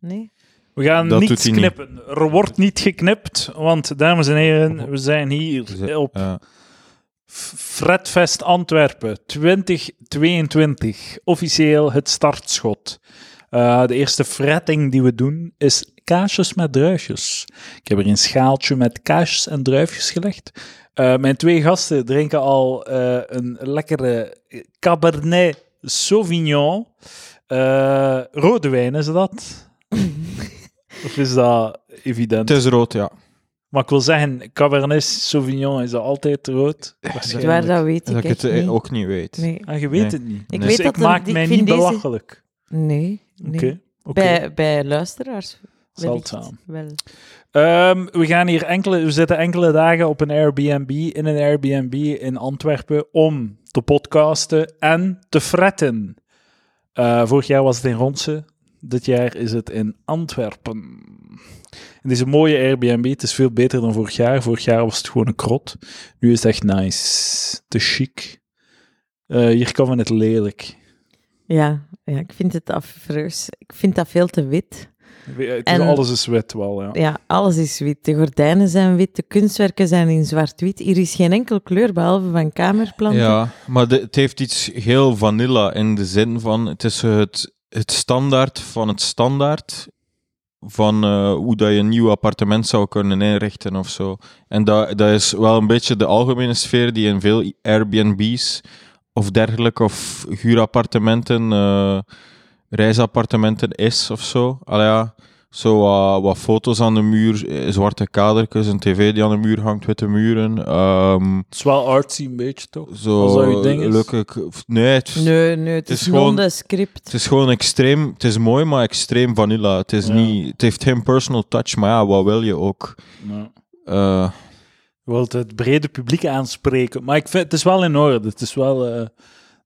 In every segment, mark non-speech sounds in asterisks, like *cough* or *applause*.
Nee? We gaan Dat doet niets hij niet. knippen. Er wordt niet geknipt, want dames en heren, we zijn Dus, hier op ja. F- Fredfest Antwerpen 2022. Officieel het startschot. Eh, de eerste fretting die we doen is kaasjes met druifjes. Ik heb er een schaaltje met kaasjes en druifjes gelegd. Eh, mijn twee gasten drinken al eh, een lekkere Cabernet Sauvignon. Eh, rode wijn is dat? of is dat evident? Het is rood, ja. Maar ik wil zeggen, Cabernet Sauvignon is dat altijd rood. Het Waarschijnlijk. waar, dat weet Dat ik ik het echt eh, niet. ook niet weet. Nee. Ah, je weet Nee. het niet. Ik dus weet ik dat een- maak die- mij ik vind niet deze- belachelijk. Nee. nee. Oké. oké. Bij, bij luisteraars wellicht Zeldzaam. wel. Ehm, we, gaan hier enkele, we zitten enkele dagen op een Airbnb, in een Airbnb in Antwerpen, om te podcasten en te fretten. Eh, vorig jaar was het in Ronse, dit jaar is het in Antwerpen. En dit is een mooie Airbnb, het is veel beter dan vorig jaar. Vorig jaar was het gewoon een krot. Nu is het echt nice, te chic. Eh, hier kan men het lelijk. Ja, ja, ik vind het afreus. Ik vind dat veel te wit. Het is En- alles is wet wel, ja. Ja, alles is wit. De gordijnen zijn wit, de kunstwerken zijn in zwart-wit. Hier is geen enkel kleur, behalve van kamerplanten. Ja, maar de- het heeft iets heel vanilla in de zin van het is het, het standaard van het standaard van eh, hoe dat je een nieuw appartement zou kunnen inrichten of zo. En dat, dat is wel een beetje de algemene sfeer die in veel Airbnbs of dergelijke of huurappartementen, eh, reisappartementen is of zo. Allee, ja, zo wat- wat foto's aan de muur, eh, zwarte kadertjes, een tv die aan de muur hangt, witte muren. ehm, Het is wel artsy een beetje, toch? Als zo dat je ding is. gelukkig. Nee, het, Nee, nee, het is is, gewoon- nondescript. het is gewoon extreem. Het is mooi, maar extreem vanilla. Het, is Ja. niet, het heeft geen personal touch, maar ja, wat wil je ook? Ja. Eh, Je wilt het brede publiek aanspreken. Maar ik vind, het is wel in orde. Het is wel... eh,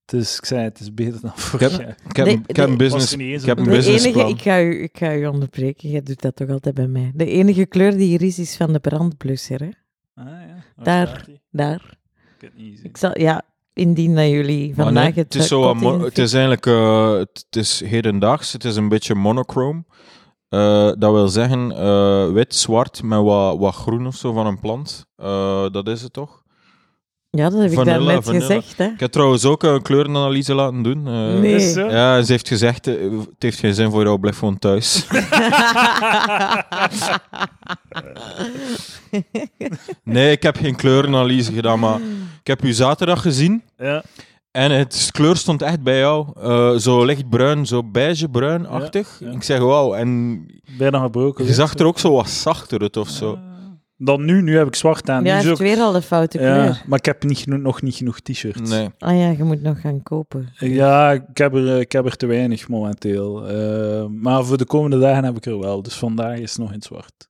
het is, ik zei, het is beter dan vorig heb- jaar. ik heb, De- ik heb de- een business. Was er niet eens Ik heb een een De business. business enige, ik ga, u, ik ga u onderbreken, jij doet dat toch altijd bij mij. De enige kleur die hier is, is van de brandblusser. Hè? Ah, ja. Waar Daar. staat die? Daar. Ik heb het niet gezien. Ik zal, ja, indien dat jullie Maar vandaag Ah, nee, het is zo eh, wat mo- kottingen Het is eigenlijk eh, het, het is hedendaags. Het is een beetje monochrome. Eh, dat wil zeggen eh, wit, zwart met wat, wat groen of zo van een plant. Eh, dat is het toch? Ja, dat heb ik Vanilla, daarnet vanilla. gezegd. *laughs* Hè? Ik heb trouwens ook een kleurenanalyse laten doen. eh, Nee. Is zo? Ja, en ze heeft gezegd, eh, het heeft geen zin voor jou, blijf gewoon thuis. Nee, ik heb geen kleurenanalyse gedaan, maar ik heb u zaterdag gezien. Ja. En het is- kleur stond echt bij jou. Eh, zo lichtbruin, zo beigebruinachtig. Ja, ja. Ik zeg, wauw. En Bijna gebroken. je zag er ook zo wat zachter uit of zo. Dan nu. Nu heb ik zwart aan. ja, nu hij is heeft ook- weer al de foute kleur. ja, maar ik heb niet genoeg, nog niet genoeg t-shirts. Nee. Ah ja, je moet nog gaan kopen. Ja, ik heb, er, eh, ik heb er te weinig momenteel. Eh, maar voor de komende dagen heb ik er wel. Dus vandaag is het nog in zwart.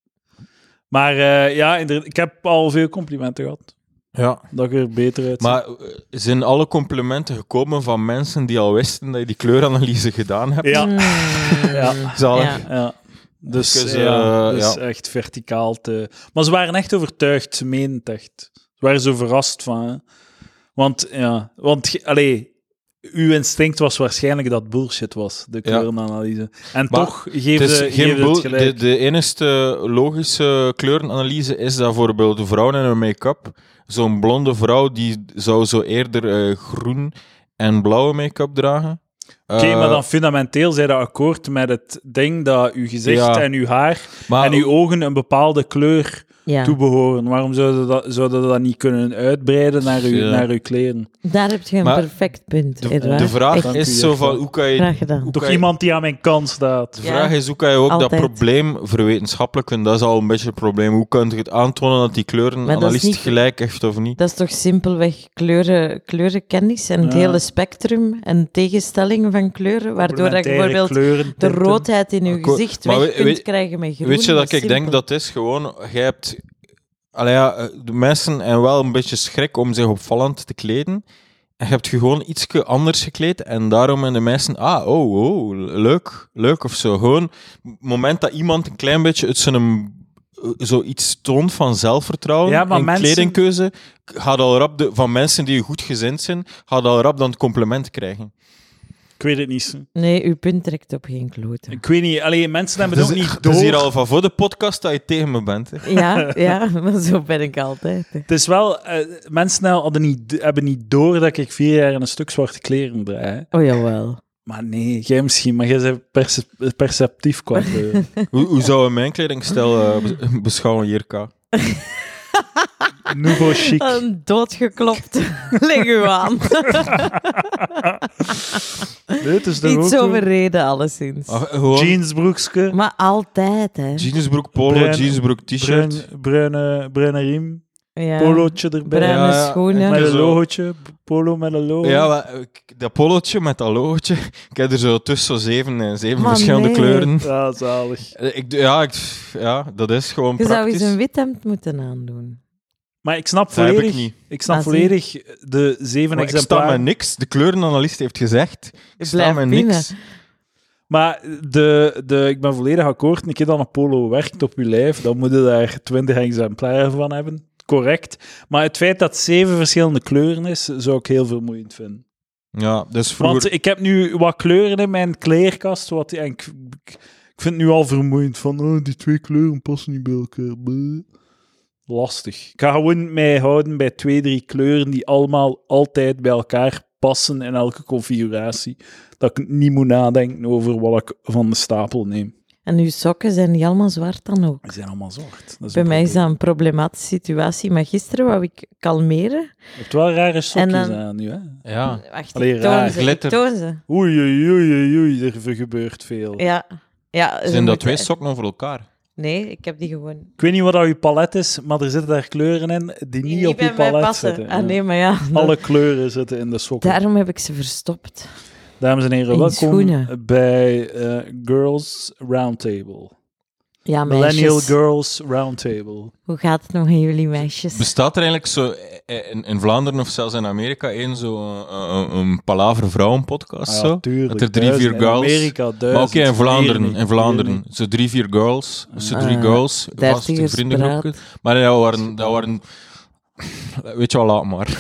Maar eh, ja, inderdaad, ik heb al veel complimenten gehad. Ja. Dat ik er beter uit Maar eh, zijn alle complimenten gekomen van mensen die al wisten dat je die kleuranalyse gedaan hebt? Ja. Mm. *laughs* Ja. Zalig. Ja. Ja. Dus, Dus, ja, eh, dus ja. echt verticaal te... Maar ze waren echt overtuigd, ze meenden het echt. Ze waren zo verrast van... hè. Want, ja, want ge- allee, uw instinct was waarschijnlijk dat bullshit was, de Ja. kleurenanalyse. En Maar toch geven Het ze is geen geven boel. het De, gelijk. de enige logische kleurenanalyse is dat bijvoorbeeld de vrouwen in hun make-up, zo'n blonde vrouw, die zou zo eerder eh, groen en blauwe make-up dragen. Oké, Eh, maar dan fundamenteel zijn dat akkoord met het ding dat uw gezicht Ja. Ah, oh. en uw haar maar en uw ogen een bepaalde kleur Ja. toebehoren. Waarom zouden dat, zouden dat niet kunnen uitbreiden naar uw, Ja. naar uw kleren? Daar heb je een Maar perfect punt, de, Edouard. de vraag Echt, Dank u, is zo van, echt. hoe kan je... graag gedaan. hoe Toch kan je- iemand die aan mijn kant staat. de Ja, vraag is, hoe kan je ook dat altijd. probleem verwetenschappelijken? Dat is al een beetje het probleem. Hoe kun je het aantonen dat die Maar dat kleurenanalyst is niet- gelijk heeft of niet? Dat is toch simpelweg kleuren, kleurenkennis en het Ja. hele spectrum en tegenstellingen van kleuren, waardoor dat je Complementaire bijvoorbeeld kleuren, de tinten. roodheid in je Akkoord. gezicht Maar weg we- kunt weet- krijgen met groen. Weet je dat ik is denk dat is gewoon, jij hebt, allee ja, eh, de mensen hebben wel een beetje schrik om zich opvallend te kleden. En je hebt je gewoon iets anders gekleed en daarom hebben de mensen, ah, oh, oh, leuk, leuk of zo. Gewoon, het moment dat iemand een klein beetje uit zijn eh, zoiets toont van zelfvertrouwen Ja, maar in mensen- kledingkeuze, gaat al rap de, van mensen die goed gezind zijn, gaat al rap dan het compliment krijgen. Ik weet het niet. Nee, uw punt trekt op geen kloten. Ik weet niet. Alleen mensen hebben het ook niet het door. is hier al van voor de podcast dat je tegen me bent. Hè. Ja, ja, maar zo ben ik altijd. hè. Het is wel, eh, mensen hadden niet, hebben niet door dat ik vier jaar in een stuk zwarte kleren draai. hè. Oh jawel. Maar nee, jij misschien, maar jij bent perce- *laughs* perceptief qua kleur. Hoe, hoe zou je mijn kledingstijl eh, bes- *laughs* beschouwen, Jirka? Nouveau chic. Een *laughs* doodgeklopt leguaan. Nee, het is Oh, dan Iets ook overreden, alleszins. Ah, gewoon Jeansbroekje, Maar altijd, hè. jeansbroek, polo, Bruin- jeansbroek, t-shirt. bruin, bruine, bruine riem, Ja. polootje erbij. Bruine Ja, ja. schoenen. Met een Zo. logootje, polo met een logo. Ja, maar, eh, k- dat pollotje met dat logootje. *laughs* Ik heb er zo tussen zo zeven, eh, zeven Maar verschillende nee. kleuren. Ja, zalig. Eh, Ik, doe- ja, ik, ja, dat is gewoon Je zou praktisch. eens een wit hemd moeten aandoen. Maar ik snap dat heb volledig, ik ik, niet. snap Ah, zie. volledig de zeven Maar ik sta exemplaren. met niks. De kleurenanalist heeft gezegd. Ik sta blijft met binnen. niks. Maar de, de, ik ben volledig akkoord. Een keer dat een polo werkt op je lijf, dan moet je daar twintig exemplaren van hebben. Correct. Maar het feit dat het zeven verschillende kleuren is, zou ik heel vermoeiend vinden. Ja, dus vroeger... Want ik heb nu wat kleuren in mijn kleerkast. Wat, en ik, ik, ik vind het nu al vermoeiend van oh, die twee kleuren passen niet bij elkaar. Bleh. Lastig. Ik ga gewoon mij houden bij twee, drie kleuren die allemaal altijd bij elkaar passen in elke configuratie. Dat ik niet moet nadenken over wat ik van de stapel neem. En uw sokken zijn niet allemaal zwart dan ook. Ze zijn allemaal zwart. Dat is Bij een mij is probleem. dat een problematische situatie. Maar gisteren wou ik kalmeren. Je hebt wel rare sokjes En dan- aan nu, hè? Ja. Wacht, Ah. Allee, ik toon raar. ze. Ik Glitter. toon ze. Oei, oei, oei, oei, oei, er gebeurt veel. Ja. ja ze Zijn dat moeten- twee sokken over elkaar? Nee, ik heb die gewoon... Ik weet niet wat dat je palet is, maar er zitten daar kleuren in die niet Die op bij je mij palet passen. zitten. Ah Ja. nee, maar ja. Alle kleuren zitten in de sokken. Daarom heb ik ze verstopt. Dames en heren, In welkom schoenen. bij eh, Girls Roundtable. Ja, Millennial Ah, meisjes. Girls Roundtable. Hoe gaat het nog in jullie meisjes? Bestaat er eigenlijk zo eh, in, in Vlaanderen of zelfs in Amerika één zo eh, een, een palaver vrouwenpodcast? Ah, eh, zo? tuurlijk, Dat er drie, duizend. vier girls. In Amerika, duizend. Maar oké, in Hier Vlaanderen. niet, In hier Vlaanderen. niet. Zo drie, vier girls. Zo drie Ah, girls. Vast een dertigers vriendengroepje. Maar dat waren... Dat waren *laughs* weet je wel, *laughs* laat maar.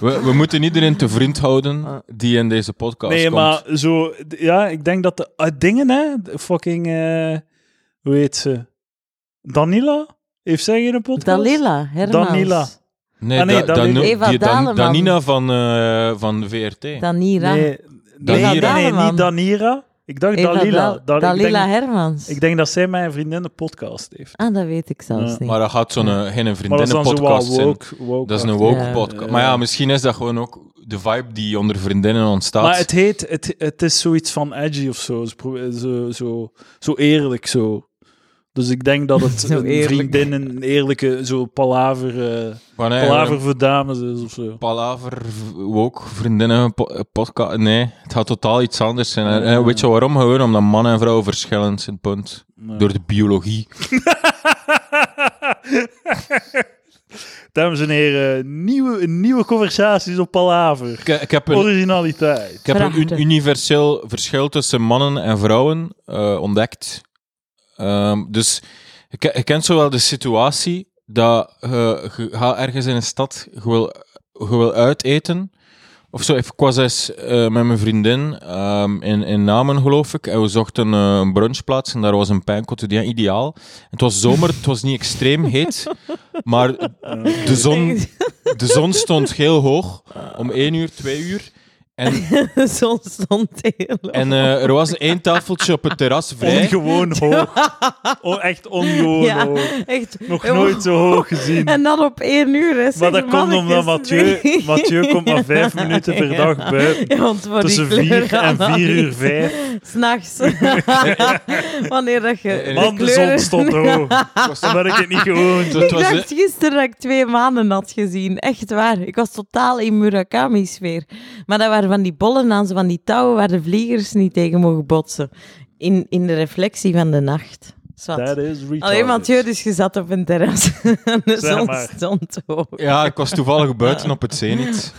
we, we moeten iedereen te vriend Ah. houden die in deze podcast Nee, komt. maar zo... d- Ja, ik denk dat de... ah, dingen, hè. de fucking... eh, hoe heet ze? Danila? Heeft zij geen podcast? Dalila, Hermans. Danila. Nee, Ah, nee, da- dat dan- weet ik. die Eva dan- Daleman. Danina van, eh, van de VRT. Danira. Nee, nee, Danira. nee, nee, Daleman. niet Danira. Ik dacht Eva Dalila. Dal- Da- ik Dalila denk- Hermans. Ik denk dat zij mijn vriendin een podcast heeft. Ah, dat weet ik zelfs Ja. niet. Maar *laughs* dat gaat zo'n eh, geen Maar dat is dan zo wat vriendinnenpodcast zijn. woke, woke. Dat is een woke woke Ja. podcast. Maar ja, misschien is dat gewoon ook de vibe die onder vriendinnen ontstaat. Maar het heet, het, het is zoiets van edgy of zo. Ze pro- Zo, zo, zo eerlijk zo. Dus ik denk dat het *laughs* Zo een eerlijk. vriendin een eerlijke zo palaver, eh, Van, eh, palaver voor dames is of zo. palaver, v- woke, vriendinnen, po- eh, podcast. Nee, het gaat totaal iets anders zijn. En, eh, weet je waarom? Gewoon omdat man en vrouw verschillend zijn, punt. Door de biologie. *laughs* Dames en heren, nieuwe, nieuwe conversaties op palaver. Ik, eh, ik heb Oh, een, Originaliteit. ik heb een Prachtig. un- universeel verschil tussen mannen en vrouwen eh, ontdekt. Ehm, dus je, ke- je kent zowel de situatie dat eh, je gaat ergens in een stad, je wil, je wil uiteten. Of zo, ik was eens eh, met mijn vriendin ehm, in, in Namen, geloof ik. En we zochten eh, een brunchplaats en daar was een pain quotidien ideaal. Het was zomer, het was niet extreem heet, maar de zon, de zon stond heel hoog. Om één uur, twee uur. En Zon stond heel en eh, er was één tafeltje op het terras vrij. *laughs* Ongewoon hoog. O, echt ongewoon Ja. hoog. Echt. Nog nooit zo hoog gezien. En dat op één uur, hè. Zeg, Maar dat komt mannetjes, omdat Mathieu, zeg. *laughs* Mathieu komt maar *laughs* vijf minuten per dag buiten. Ja, want voor die Tussen vier en vier uur kleurenanalyse. vijf. *laughs* S'nachts. *laughs* Wanneer dat je. Man, de kleuren- zon stond *laughs* hoog. Dan ben ik het niet gewoon. Dus Het Ik was, eh, e- dacht gisteren dat ik twee maanden had gezien. Echt waar. Ik was totaal in Murakami-sfeer. Maar dat waren van die bollen aan, zo van die touwen waar de vliegers niet tegen mogen botsen. In, in de reflectie van de nacht. Zwat. Dat is retarded. Alleen Mathieu, dus je zat op een terras. *laughs* en de Zeg zon maar. stond hoog. ja, ik was toevallig buiten op het zenit.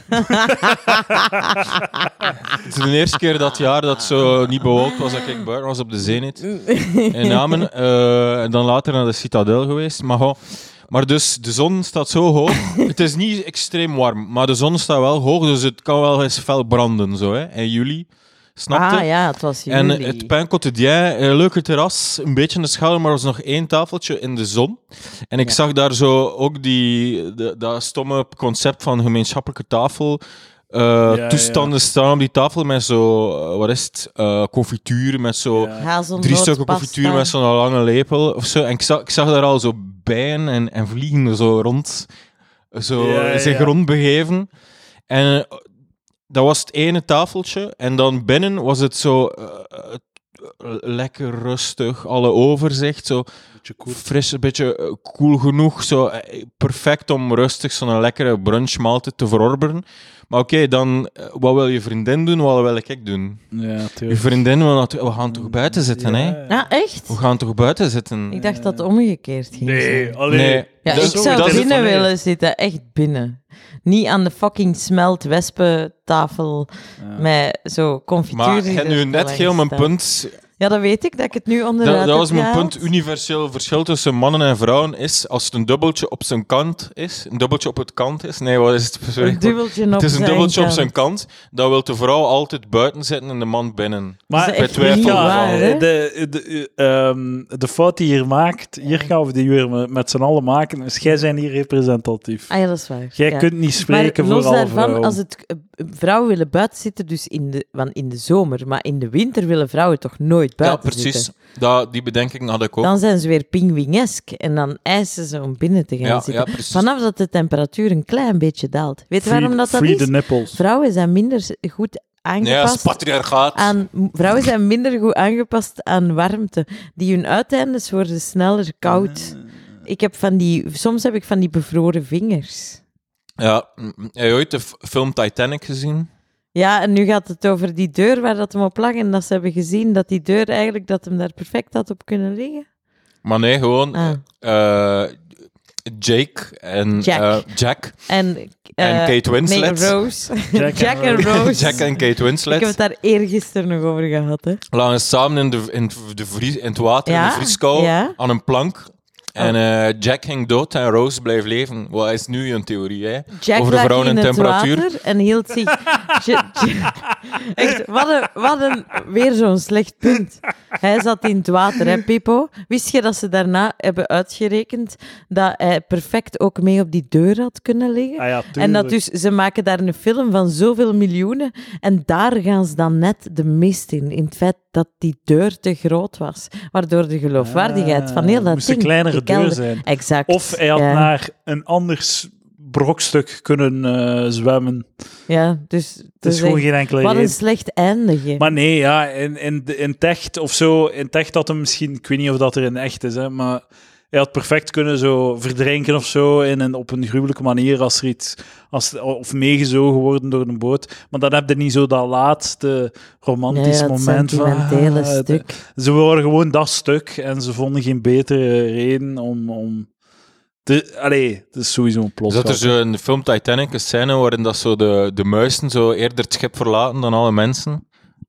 het is de eerste keer dat jaar dat zo niet bewolkt was dat ik buiten was op de zenit. In Namen. eh, en dan later naar de Citadel geweest. Maar, goh, Maar dus, de zon staat zo hoog. het is niet extreem warm, maar de zon staat wel hoog, dus het kan wel eens fel branden, zo, hè, in juli. Snap je? Ah ja, het was juli. eh? En eh, het pain quotidien, een leuke terras, een beetje een schaduw, maar er was nog één tafeltje in de zon. En ik Ja. zag daar zo ook die, de- dat stomme concept van gemeenschappelijke tafel. eh, ja. toestanden staan op die tafel met zo, eh, wat is het, eh confituur, met zo Hazelnoot, drie stukken pasta. confituur met zo'n lange lepel of zo. En ik zag, ik zag daar al zo bijen en, en vliegen zo rond, zo Ja, ja, zich ja. rondbegeven. En eh, dat was het ene tafeltje. En dan binnen was het zo eh, eh, lekker rustig, alle overzicht, zo Beetje koel. fris, een beetje eh, koel genoeg, zo eh, perfect om rustig zo'n lekkere brunchmaaltijd te verorberen. Maar oké, dan, eh, wat wil je vriendin doen, wat wil ik doen? Ja, Je tuurlijk. vriendin wil natuurlijk, we gaan toch buiten zitten, hè? Ah, echt? We gaan toch buiten zitten? Ik dacht dat het omgekeerd ging zijn. Nee, alleen. Nee. Ja, dat- ik zo, zou dat is- binnen willen zitten. Echt binnen. Niet aan de fucking smelt wespentafel met zo confituur. Maar die je hebt er nu te net lang heel mijn staat. punt. Ja, dat weet ik, dat ik het nu onderuit Dat, dat heb was mijn gehaald. punt. Universeel verschil tussen mannen en vrouwen is als het een dubbeltje op zijn kant is. Een dubbeltje op het kant is. Nee, wat is het? *laughs* Een Het dubbeltje op is een zijn dubbeltje op kant. zijn kant. Dan wil de vrouw altijd buiten zitten en de man binnen. Dat Maar is bij echt twijfel niet wel. waar, hè? de, de, de, ehm, de fout die je hier maakt, hier gaan we die weer met- met z'n allen maken. Dus jij bent hier representatief. Ah ja, dat is waar. Jij ja. kunt niet maar spreken los voor alle daarvan, vrouwen. als het eh, vrouwen willen buiten zitten, dus in de, want in de zomer, maar in de winter willen vrouwen toch nooit Ja, buiten precies. zitten. Dat, die bedenking had ik ook. Dan zijn ze weer pinguïnesk en dan eisen ze om binnen te gaan ja, zitten. ja, precies. Vanaf dat de temperatuur een klein beetje daalt. Weet je Free- waarom dat dat free is? the nipples. Vrouwen zijn minder s- goed Nee, dat is aangepast patriarchaat. aan... Vrouwen zijn minder goed aangepast aan warmte. Die hun uiteindes worden sneller koud. Ah. Ik heb van die... Soms heb ik van die bevroren vingers. Ja, mm, heb je ooit de f- film Titanic gezien? Ja, en nu gaat het over die deur waar dat hem op lag. En dat ze hebben gezien dat die deur eigenlijk dat hem daar perfect had op kunnen liggen. Maar nee, gewoon Ah. eh, Jake en Jack. eh, Jack En, eh, en Kate Winslet. Nee, Rose. Jack Jack, en en Rose. *laughs* Jack en Kate Ik heb het Winslet daar eergisteren nog over gehad. Hè. lagen samen in, de, in, de vries, in het water, in Ja, de vrieskou, ja. Oh. aan een plank. En eh, Jack ging dood en Rose bleef leven. Wat is nu een theorie, hè? Jack Over de lag vrouwen in en het temperatuur. water en hield zich... *laughs* Ja- ja- Echt, wat een, wat een... Weer zo'n slecht punt. Hij zat in het water, hè, Pippo. Wist je dat ze daarna hebben uitgerekend dat hij perfect ook mee op die deur had kunnen liggen? Ah ja, En dat tuurlijk. dus, ze maken daar een film van zoveel miljoenen en daar gaan ze dan net de mist in. In het feit dat die deur te groot was. Waardoor de geloofwaardigheid van heel dat moest een ding... Ah, kleinere de kelder- deur zijn. Exact. Of hij had ja. naar een anders brokstuk kunnen eh, zwemmen. Ja, dus... Het dus is gewoon echt- geen enkele Wat een reden. slecht eindigen. Maar nee, ja, in, in, de- in Techt of zo, in Techt had hem misschien, ik weet niet of dat er in echt is, hè, maar hij had perfect kunnen zo verdrinken of zo in een, op een gruwelijke manier als er iets, als, of meegezogen worden door een boot. Maar dan heb je niet zo dat laatste romantisch ja, het moment van... sentimentele ah, de- stuk. Ze wilden gewoon dat stuk en ze vonden geen betere reden om... om te, allee, het is sowieso een plot. Dus dat er zo in de film Titanic een scène waarin dat zo de, de muizen zo eerder het schip verlaten dan alle mensen.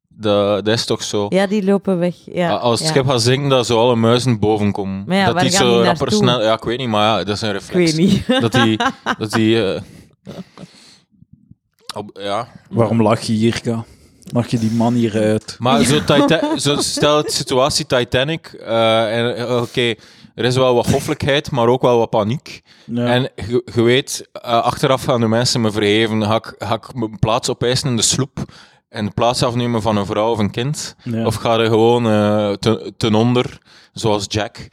Dat, dat is toch zo? Ja, die lopen weg. Ja, A- Ah, Als het ja. schip gaat zinken, dat zo alle muizen boven komen. Maar ja, dat waar die gaan die zo rapper naartoe? snel... Ja, ik weet niet, maar ja, dat is een Ik reflex. weet niet. *laughs* Dat die... Dat die eh, op- ja. Waarom lach je hier, Ka? Lach je die man hier uit? Maar zo, Tita- zo stel de situatie Titanic. eh, en eh, Oké, er is wel wat hoffelijkheid, maar ook wel wat paniek. Ja. En je je weet, eh, achteraf gaan de mensen me verheven. Ga ik, ga ik mijn plaats opeisen in de sloep en de plaats afnemen van een vrouw of een kind? Ja. Of ga je gewoon eh, ten, ten onder, zoals Jack?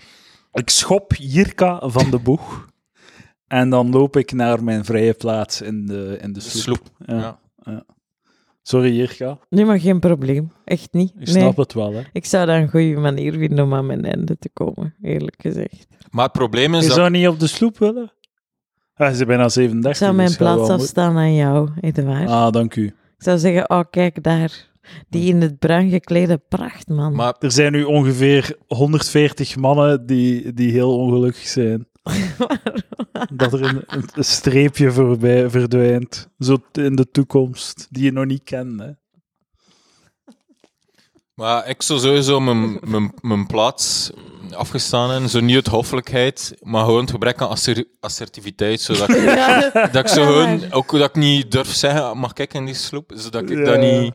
Ik schop Jirka van de boeg. En dan loop ik naar mijn vrije plaats in de, in de sloep. sloep, Ja, ja. ja. Sorry, Jirka. Nee, maar geen probleem. Echt niet. Ik nee. snap het wel, hè. Ik zou dat een goede manier vinden om aan mijn einde te komen, eerlijk gezegd. Maar het probleem is Je dat... zou niet op de sloep willen? Hij is bijna 37. Ik zou dus mijn je gaat plaats wel moeten- afstaan aan jou, Edouard. Ah, dank u. Ik zou zeggen, oh kijk daar. Die in het bruin geklede pracht, man. Maar Er zijn nu ongeveer 140 mannen die, die heel ongelukkig zijn. *laughs* Dat er een, een- een streepje voorbij verdwijnt. Zo t- in de toekomst, die je nog niet kent. Hè. *laughs* Maar ik zou sowieso mijn, mijn, mijn plaats afgestaan en zo niet uit hoffelijkheid, maar gewoon het gebrek aan asser- assertiviteit, zodat *laughs* ik, dat ik zo gewoon, ook dat ik niet durf zeggen, mag ik in die sloep, zodat ik Ja. dat niet,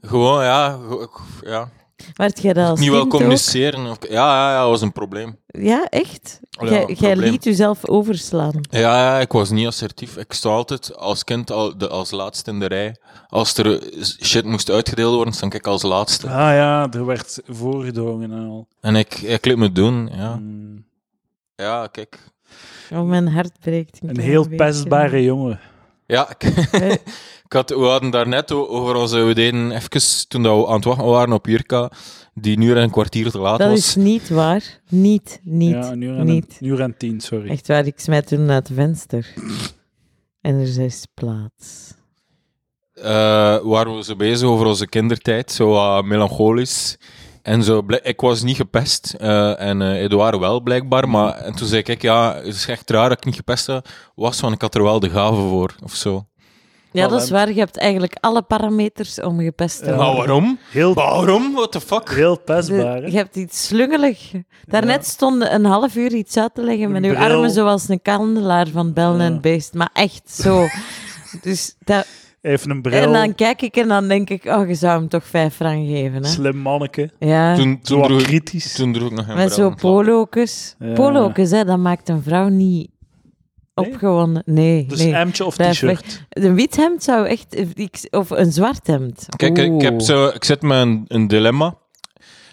gewoon, ja, go- ik- ja. Werd jij dat als niet wil kind ook? communiceren. Of, ja, ja, ja, dat was een probleem. Ja, echt? Ja, Jij- een Jij probleem. liet jezelf overslaan. Ja, ja, ik was niet assertief. Ik stond altijd als kind al de, als laatste in de rij. Als er eh, shit moest uitgedeeld worden, stond ik als laatste. Ah ja, er werd voorgedrongen en al. En ik, ik liet me doen, ja. Mm, Ja, kijk. Oh, mijn hart breekt. Een heel pestbare jongen. Ja, ik, *laughs* ik had, we hadden daarnet o- over onze... We deden even, toen dat we aan het wachten waren op Jirka, die nu een kwartier te laat Dat was. is niet waar. Niet, niet, ja, een uur en, niet. Een, uur en tien, sorry. Echt waar, ik smijt toen uit het venster. En er is plaats. eh waren we zo bezig over onze kindertijd, zo wat melancholisch. En zo, bl- ik was niet gepest, eh, en eh Edouard wel blijkbaar, maar en toen zei ik, ja, het is echt raar dat ik niet gepest was, want ik had er wel de gave voor, of zo. Ja, Wel, dat is hè. waar. Je hebt eigenlijk alle parameters om gepest te Ja. worden. Maar waarom? Heel, Waarom? What the fuck? heel De- pestbaar. hè? je hebt iets slungelig. Daarnet stonden een half uur iets uit te leggen met Een uw bril. armen zoals een kandelaar van Bellen en Ja. het Beest. Maar echt *laughs* zo. dus dat, Even een en bril, dan kijk ik en dan denk ik, oh, je zou hem toch vijf frank geven. Hè? slim manneke. Ja, Toen, Zo toen, wat droeg, ik- kritisch. toen droeg ik nog een met bril. zo'n polokus. Ja. Polokus, hè, dat maakt een vrouw niet Nee? opgewonden. Nee, dus nee. hemdje of Blijf t-shirt. Een wit hemd zou echt... ik- Of een zwart hemd. Kijk, ik, ik heb Oeh. zo, ik zit met een, een dilemma.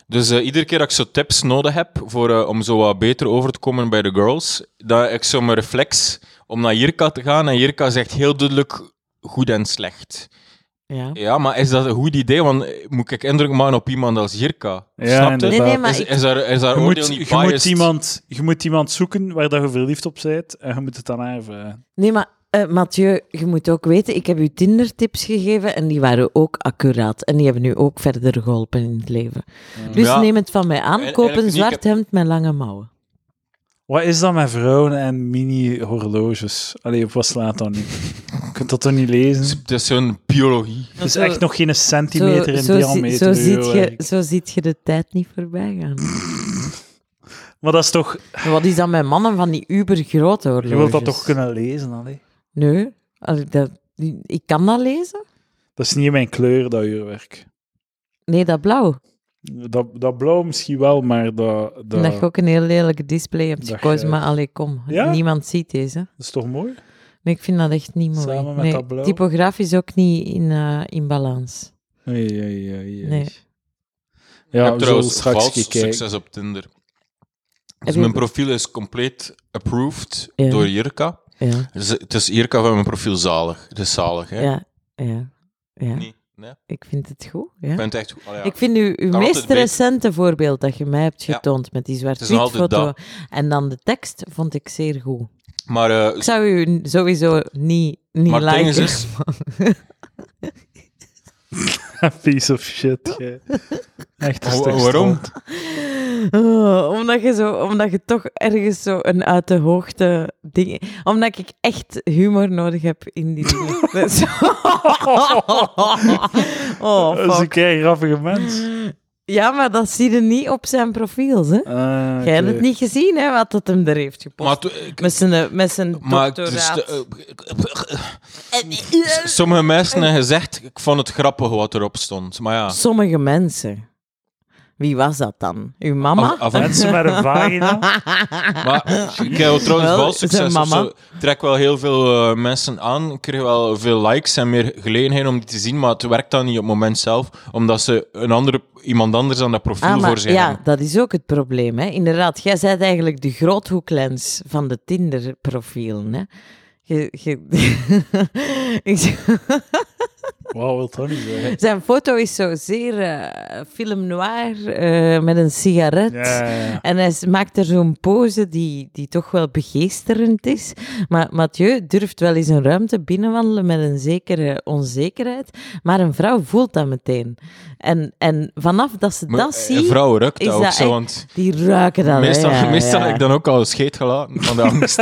Dus eh, iedere keer dat ik zo tips nodig heb voor, eh, om zo wat beter over te komen bij de girls, dat ik zo mijn reflex om naar Jirka te gaan en Jirka zegt heel duidelijk goed en slecht. Ja. Ja, maar is dat een goed idee? Want eh, moet ik indruk maken op iemand als Jirka? Ja, Snap je? Nee, nee, Inderdaad. maar Is, ik- is daar, is daar Je oordeel moet, niet je, biased? moet iemand, je moet iemand zoeken waar dat je verliefd op bent en je moet het dan aanvragen. Nee, maar eh, Mathieu, je moet ook weten, ik heb u Tinder-tips gegeven en die waren ook accuraat. En die hebben u ook verder geholpen in het leven. Dus Mm. Ja. neem het van mij aan, En- koop en ik- een ik zwart heb- hemd met lange mouwen. Wat is dat met vrouwen en mini-horloges? Allee, op wat slaat dat niet? Je kunt dat toch niet lezen? Het is zo'n biologie. Het is Zo- echt nog geen centimeter in zo, zie- zo, diameter. ziet uw je, werk. zo ziet je de tijd niet voorbij gaan. Maar dat is toch... En Wat is dat met mannen van die ubergrote horloges? Je wilt dat toch kunnen lezen, allee? Nee, als ik, dat, die- ik kan dat lezen. Dat is niet mijn kleur, dat uurwerk. Nee, dat blauw. Dat, dat blauw misschien wel, maar dat... En Dat, dat je ook een heel lelijke display hebt Dat gekozen, je- maar allee, kom. Ja? Niemand ziet deze. dat is toch mooi? Nee, ik vind dat echt niet mooi. Samen met nee, dat blauw? Typografisch ook niet in, eh, in balans. Oei, oei, oei, oei. Nee. ik Ja, heb we zullen trouwens straks vals gaan kijken. succes op Tinder. Heb Dus je- mijn profiel is compleet approved Ja. door Jirka. Ja, Dus het is Jirka van mijn profiel zalig. Het is zalig, hè? ja, ja. ja. Nee, nee. Ik Ik vind het goed. Ja. ben het echt... Allee, ja. Ik vind uw, uw Kan meest altijd beter. recente voorbeeld dat je mij hebt Ja. getoond met die Het is nog zwart-wit altijd foto en dan de tekst, vond ik zeer goed. Maar, eh, Ik zou u sowieso niet, niet maar het ding is liken. dus- *laughs* Piece of shit, *laughs* jij. Echt, Wa- stuk waarom? stront. Oh, omdat, je zo, omdat je toch ergens zo een uit de hoogte ding... Omdat ik echt humor nodig heb in die *laughs* dingen. Dat is- oh, *laughs* dat is een fuck. kei grappige mens. Ja, maar dat zie je niet op zijn profiel, hè? Ah, Jij hebt oké. het niet gezien, hè, wat dat hem er heeft gepost. maar, to- ik- met zijn, met zijn maar het is doctoraat. de- eh, sommige mensen hebben gezegd, ik vond het grappig wat erop stond. Maar ja, Sommige mensen. Wie was dat dan? Uw mama? Af- af- Mensen *laughs* met een vagina. maar ik heb trouwens Wel, wel zijn succes. of mama. zo. Ik trek wel heel veel eh, mensen aan. Ik kreeg wel veel likes en meer gelegenheden om die te zien. Maar het werkt dan niet op het moment zelf. Omdat ze een andere, iemand anders aan dat profiel Ah, maar voor zich ja, hebben. dat is ook het probleem. Hè? Inderdaad, jij bent eigenlijk de groothoeklens van de Tinder-profielen. Hè? Je, je- *laughs* Ik- Wauw, wil dat niet zeggen. Zijn foto is zo zeer eh, film noir eh, met een sigaret. Ja, ja, ja. En hij s- maakt er zo'n pose die, die toch wel begeesterend is. Maar Mathieu durft wel eens een ruimte binnenwandelen met een zekere onzekerheid. Maar een vrouw voelt dat meteen. En, en vanaf dat ze Maar, dat eh, ziet, vrouwen rukt is dat ook dat zo. echt- Want die ruiken dat. hè, meestal ja, meestal ja. heb ik dan *laughs* ook al scheet gelaten van de angst.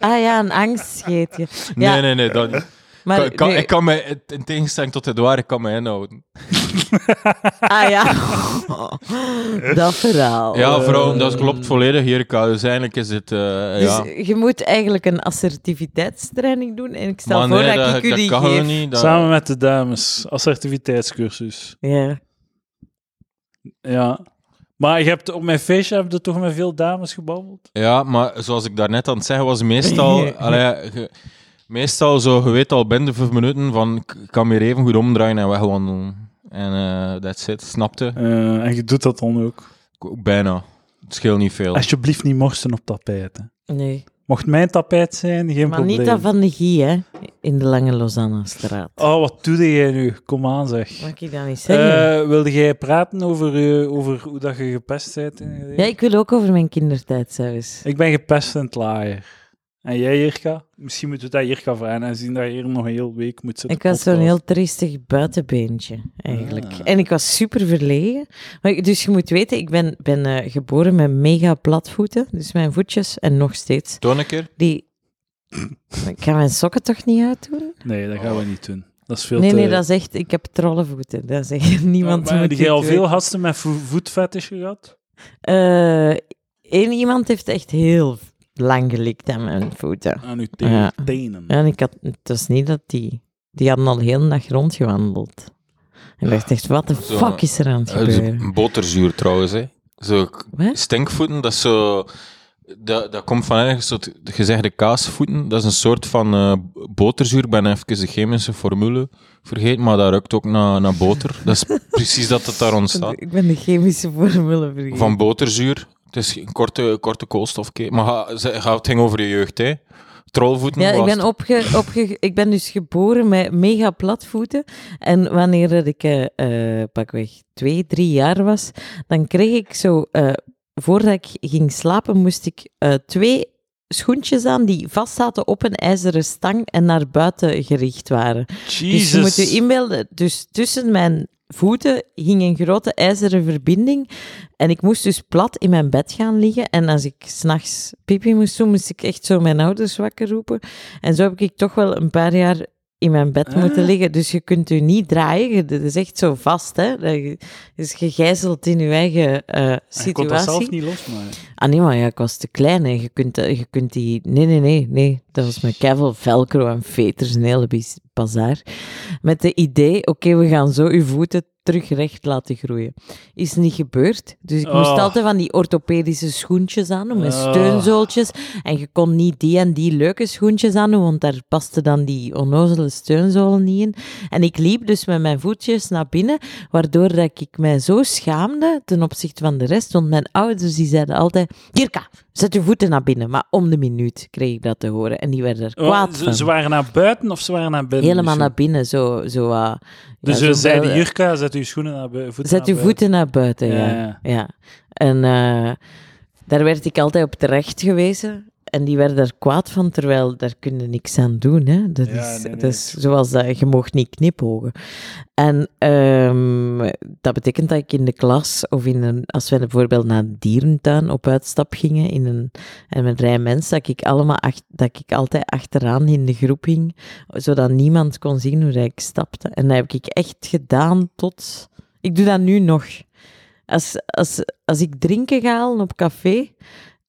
Ah ja, een angstscheetje. Ja, Nee, nee, nee. Dat, niet. Maar ik, kan, nee. ik kan mij, in tegenstelling tot het waar, ik kan mij inhouden. Ah *laughs* ja, *laughs* dat verhaal. Ja, vrouw, dat klopt volledig, Jirka. Dus eigenlijk is het... eh, Dus ja. je moet eigenlijk een assertiviteitstraining doen. En ik stel Maar voor nee, dat, ik u die kan geef. gewoon niet. dat- Samen met de dames. Assertiviteitscursus. Ja. Ja. Maar je hebt, op mijn feestje heb je toch met veel dames gebabbeld? Ja, maar zoals ik daarnet aan het zeggen *laughs* was, meestal... allee, ge- meestal zo, je weet al binnen de vijf minuten van... Ik ik kan me hier even goed omdraaien en wegwandelen. En eh that's it, snapte? Eh, en je doet dat dan ook. Ook Bijna. Het scheelt niet veel. Alsjeblieft niet morsen op tapijten. Nee. Mocht mijn tapijt zijn, geen Maar probleem. niet dat van de Gie, hè? In de Lange Lausanne-straat. Oh, wat doe jij nu? Kom aan, zeg. Mag ik dat niet zeggen? Eh wilde jij praten over, eh, over hoe dat je gepest bent? in je leven? ja, ik wil ook over mijn kindertijd zelfs. Ik ben gepest in het laaier. En jij, Jirka? Misschien moeten we dat Jirka vragen en zien dat je hier nog een heel week moet zitten. Ik was zo'n podcasten. heel triestig buitenbeentje, eigenlijk. Ah. En ik was super verlegen. Maar, ik- dus je moet weten, ik ben, ben eh, geboren met mega platvoeten. Dus mijn voetjes, en nog steeds, Toon een keer. die... Ik ga mijn sokken toch niet uitdoen? Nee, dat gaan we niet doen. Dat is veel Nee, te... nee, dat is echt... Ik heb trollenvoeten. Dat is echt... *laughs* Niemand maar moet heb jij dit al weten. veel gasten met vo voetfetish gehad? Eh, één iemand heeft echt heel lang gelikt aan mijn voeten. Aan uw te- Ja. tenen. Ja, En ik had... Het was niet dat die... Die hadden al heel de dag rondgewandeld. En ik dacht echt, wat de Zo. fuck is er aan het Eh, gebeuren? zo- Boterzuur trouwens, hè. Zo, k- Wat? stinkvoeten, dat is zo... Dat, dat komt van ergens tot de gezegde kaasvoeten. Dat is een soort van eh, boterzuur. Ik ben even de chemische formule vergeten, maar dat ruikt ook naar, naar boter. Dat is *laughs* precies dat het daar ontstaat. Ik ben de chemische formule vergeten. Van boterzuur. Het is een korte, korte koolstofke. Maar ga, ze- ga- het ging over je jeugd, hè? Trollvoeten Ja, ik was ben, het. opge, opge, ik ben dus geboren met mega platvoeten. En wanneer dat ik eh eh, pakweg twee, drie jaar was, dan kreeg ik zo... eh, voordat ik ging slapen, moest ik eh, twee schoentjes aan die vast zaten op een ijzeren stang en naar buiten gericht waren. Dus je moet je inbeelden, dus tussen mijn voeten hing een grote ijzeren verbinding. En ik moest dus plat in mijn bed gaan liggen. En als ik s'nachts pipi moest doen, moest ik echt zo mijn ouders wakker roepen. En zo heb ik toch wel een paar jaar in mijn bed Ah. moeten liggen. Dus je kunt u niet draaien. Je- Dat is echt zo vast, hè. Dat je is gegijzeld in je eigen eh, En Je kon dat zelf situatie. niet losmaken. Ah nee, maar ja, ik was te klein. Hè. Je, kunt, eh, je kunt die... Nee, nee, nee. nee. Dat was met kevel, velcro en veters, een hele bis- bazaar. Met de idee, oké, we gaan zo uw voeten terug recht laten groeien. Is niet gebeurd. Dus ik moest Oh. altijd van die orthopedische schoentjes aan doen, met Oh. steunzooltjes. En je kon niet die en die leuke schoentjes aan doen, want daar paste dan die onnozele steunzolen niet in. En ik liep dus met mijn voetjes naar binnen, waardoor dat ik mij zo schaamde ten opzichte van de rest. Want mijn ouders die zeiden altijd, Kirka, zet je voeten naar binnen. Maar om de minuut kreeg ik dat te horen. En die werden er kwaad Oh, van. ze, ze waren naar buiten of ze waren naar binnen? Helemaal Dus- naar binnen, zo... zo eh, Dus ja, ze zo zeiden, wel- eh, Jurka, zet uw schoenen naar bu- voeten Zet naar uw buiten. voeten naar buiten, ja. Ja, ja. ja. En eh, daar werd ik altijd op terecht gewezen. En die werden daar kwaad van, terwijl daar kun je niks aan doen. Hè. Dat, Ja, is, nee, nee. dat is zoals dat, je mag niet knipogen. En ehm, dat betekent dat ik in de klas, of in een, als we bijvoorbeeld naar een dierentuin op uitstap gingen, in een, en met rij mensen, dat ik, allemaal ach- dat ik altijd achteraan in de groep hing, zodat niemand kon zien hoe dat ik stapte. En dat heb ik echt gedaan tot... Ik doe dat nu nog. Als, als, als ik drinken ga halen op café,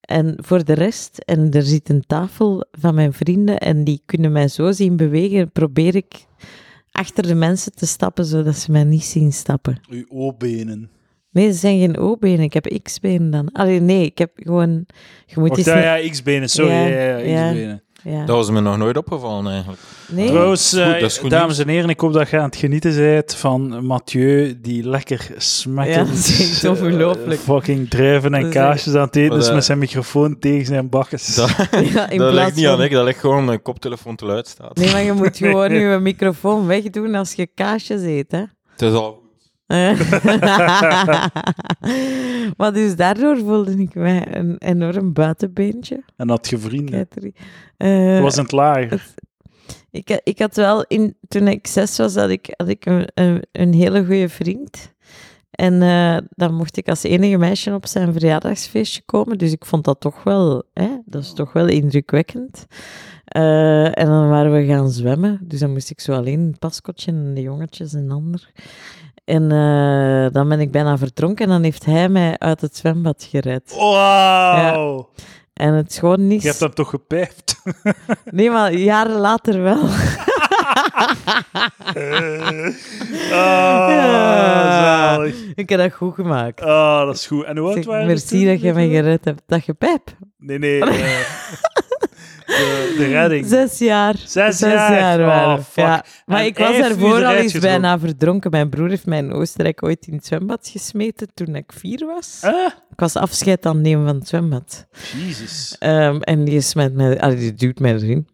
en voor de rest, en er zit een tafel van mijn vrienden, en die kunnen mij zo zien bewegen, probeer ik achter de mensen te stappen, zodat ze mij niet zien stappen. Uw O-benen. Nee, ze zijn geen O-benen, ik heb X-benen dan. Allee, nee, ik heb gewoon... Je moet Wacht, eens... ja, naar- ja, X-benen, sorry. Ja, Ja, ja, ja. X-benen. ja. Dat was me nog nooit opgevallen, eigenlijk. Nee. Trouwens, Dat is goed, eh, dat is goed dames en heren, ik hoop dat je aan het genieten bent van Mathieu, die lekker Ja, *laughs* smekkend dat is echt ongelooflijk. eh, fucking druiven en Dat is kaasjes aan het eten Maar is dat- met zijn microfoon tegen zijn bakkes. *laughs* Dat, *laughs* Ja, in dat ligt plaats niet van- aan ik, dat ligt gewoon omdat mijn koptelefoon te luid staat. Nee, maar je moet gewoon je microfoon wegdoen als je kaasjes eet, hè. Het is al... *laughs* Eh. maar dus daardoor voelde ik mij een enorm buitenbeentje. En had je vrienden. Kateri. Eh, Dat was in het lager. ik, ha- ik had wel, in, toen ik zes was, had ik, had ik een, een, een hele goede vriend. En eh, dan mocht ik als enige meisje op zijn verjaardagsfeestje komen. Dus ik vond dat toch wel, hè, dat is toch wel indrukwekkend. Eh, en dan waren we gaan zwemmen. Dus dan moest ik zo alleen een paskotje en de jongetjes en ander. En eh, dan ben ik bijna verdronken en dan heeft hij mij uit het zwembad gered. Wauw! En het is gewoon Je hebt niet... hem toch *laughs* gepijpt? Nee, maar jaren later wel. *laughs* Ah, zalig. ik heb dat goed gemaakt. Ah, dat is goed. En hoe oud Zeg, waren we merci toen, dat je weet mij je wel? gered hebt. Dat je pep. Nee, nee. eh, *laughs* de, de redding. Zes jaar. Zes jaar. Oh, waren we. fuck. Ja. Maar En ik was hij heeft u daarvoor al eruit eens getrokken. bijna verdronken. Mijn broer heeft mij in Oostenrijk ooit in het zwembad gesmeten toen ik vier was. Ah, Ik was afscheid aan het nemen van het zwembad. Jezus. Ehm, en die, is met mij, ah, die duwt mij erin.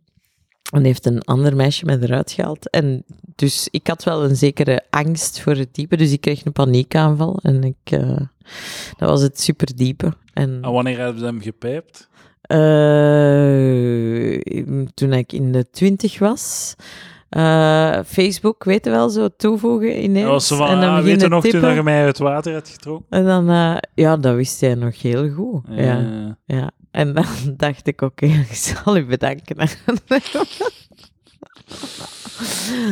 En heeft een ander meisje mij eruit gehaald. En dus ik had wel een zekere angst voor het diepe. Dus ik kreeg een paniekaanval. En ik, eh, dat was het superdiepe. En, En wanneer hebben ze hem gepijpt? eh, toen ik in de twintig was. Eh, Facebook, weet je wel, zo toevoegen ineens. Dat was zo van, en dan ah, weet je beginnen nog toen tippen. dat je mij uit het water had getrokken? En dan, eh, ja, dat wist hij nog heel goed. Ja, Eh, ja. En dan *laughs* dacht ik, oké, ik zal u bedanken. *laughs*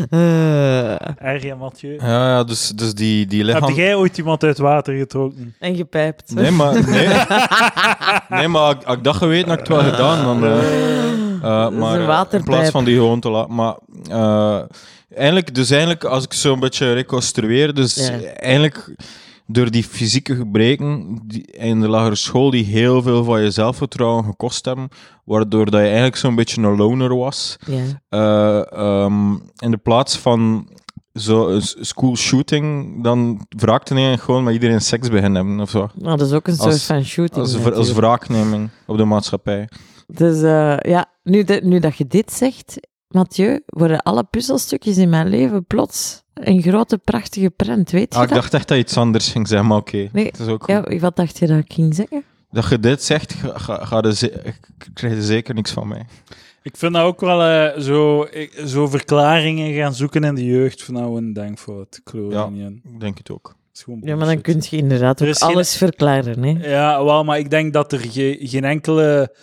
Eh, Erg, hè, Mathieu. Ja, ja, dus, dus die, die Heb lichaam... jij ooit iemand uit het water getrokken? en gepijpt. *laughs* Nee, maar... Nee, nee maar als ik dat geweten had, ik het wel gedaan. Dan, eh. Eh, is maar een eh, in waterpijp. plaats van die gewoon te laten. Maar eh, eigenlijk, dus eigenlijk, als ik zo'n beetje reconstrueer, dus Ja. eigenlijk door die fysieke gebreken die, in de lagere school, die heel veel van je zelfvertrouwen gekost hebben, waardoor dat je eigenlijk zo'n beetje een loner was. Ja. Eh, ehm, in de plaats van zo'n s- school shooting, dan wraakte hij gewoon met iedereen seks beginnen hebben of zo. Nou, dat is ook een soort Als- van shooting. Als, vra- als natuurlijk. wraakneming op de maatschappij. Dus eh, ja, nu, de- nu dat je dit zegt, Mathieu, worden alle puzzelstukjes in mijn leven plots een grote, prachtige prent, weet je Ah, ik dat? dacht echt dat je iets anders ging zeggen, maar oké. Nee, het is ook goed. Ja, wat dacht je dat ik ging zeggen? Dat je dit zegt, ga, ga, ga je ze- k- krijg je zeker niks van mij. Ik vind dat ook wel eh, zo, ik- zo verklaringen gaan zoeken in de jeugd van nou een denkfout. Ik geloof Ja. er niet in. Ik denk het ook. Het is gewoon Ja, maar dan bullshit. kun je inderdaad Er ook is geen- alles verklaren, hè. Ja, wel, maar ik denk dat er ge- geen enkele...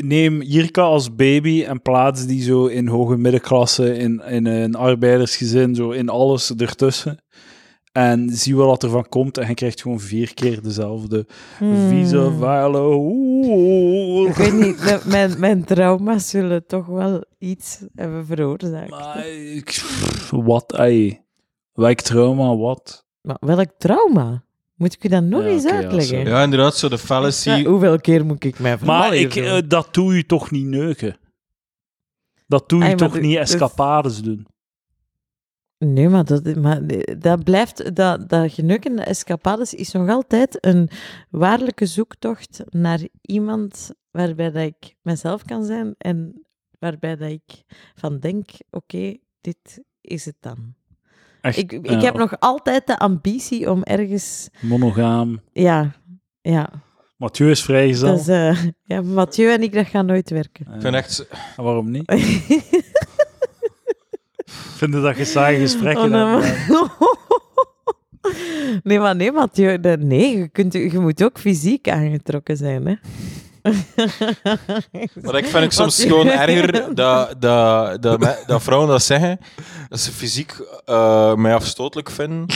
Neem Jirka als baby en plaats die zo in hoge middenklasse, in, in een arbeidersgezin, zo in alles ertussen. En zie wel wat er van komt en je krijgt gewoon vier keer dezelfde. Hmm. Visa, Valo, oeh. Ik weet niet, de- mijn, mijn trauma's zullen toch wel iets hebben veroorzaakt. *laughs* Maar ik- pff, Wat, ey. Welk trauma, wat? Maar welk trauma? Moet ik u dat nog Ja, eens oké, ja, uitleggen? sorry. Ja, inderdaad, zo de Ja, fallacy. hoeveel keer moet ik mij Maar vermalen ik, doen? eh, dat doe je toch niet neuken? Dat doe je Ey, maar toch de- niet de- escapades doen? Nee, maar dat, maar dat blijft, dat, dat genuk en de escapades is nog altijd een waarlijke zoektocht naar iemand waarbij dat ik mezelf kan zijn en waarbij dat ik van denk, oké, dit is het dan. Echt, Ik, ik ja, heb nog altijd de ambitie om ergens, Monogaam. ja, ja. Mathieu is vrijgezel. Dus, eh, ja Mathieu en ik, dat gaan nooit werken. *laughs* Ik vind echt... Eh, En waarom niet? Vinden dat je saaie gesprekken Oh, nee, hebt. *laughs* maar- nee, maar nee, Mathieu. de- Nee, je, kunt, je moet ook fysiek aangetrokken zijn, *laughs* hè. Maar ik vind ik soms Wat- *laughs* gewoon erger dat, dat, dat, me- dat vrouwen dat zeggen. Dat ze fysiek eh, mij afstotelijk vinden.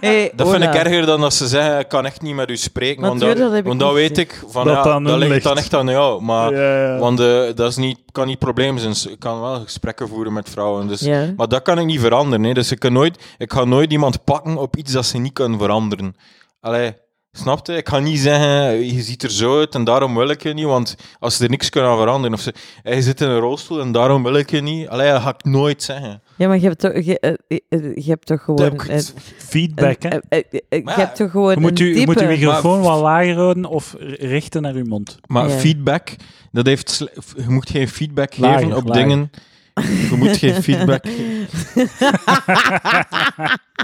Hey, Dat vind Ola. ik erger dan dat ze zeggen, ik kan echt niet met u spreken. Maar Want tuurlijk, dat, dat heb ik want dat ook weet gezien. ik, van, Dat ja, het aan dat hun ligt ligt. dan echt aan jou. Maar, Ja, ja. Want eh, dat is niet, kan niet het probleem zijn. Ik kan wel gesprekken voeren met vrouwen. Dus Ja. Maar dat kan ik niet veranderen. Hè. Dus ik, kan nooit, ik ga nooit iemand pakken op iets dat ze niet kunnen veranderen. Allee, snap je? Ik ga niet zeggen, je ziet er zo uit en daarom wil ik je niet. Want als ze er niks kunnen aan veranderen. Of ze, hij zit in een rolstoel en daarom wil ik je niet. Allee, dat ga ik nooit zeggen. Ja, maar je hebt toch, je, eh, eh, eh, je hebt toch Dat gewoon... heb ik- eh, een- Feedback, hè. eh, eh, eh, je Maar ja, hebt toch gewoon Je moet, een u, je moet uw type- microfoon wat lager houden of r- richten naar uw mond. maar Ja. feedback, dat heeft, sle- je moet geen feedback Lager, geven op lager. dingen. Je moet *laughs* geen feedback ge-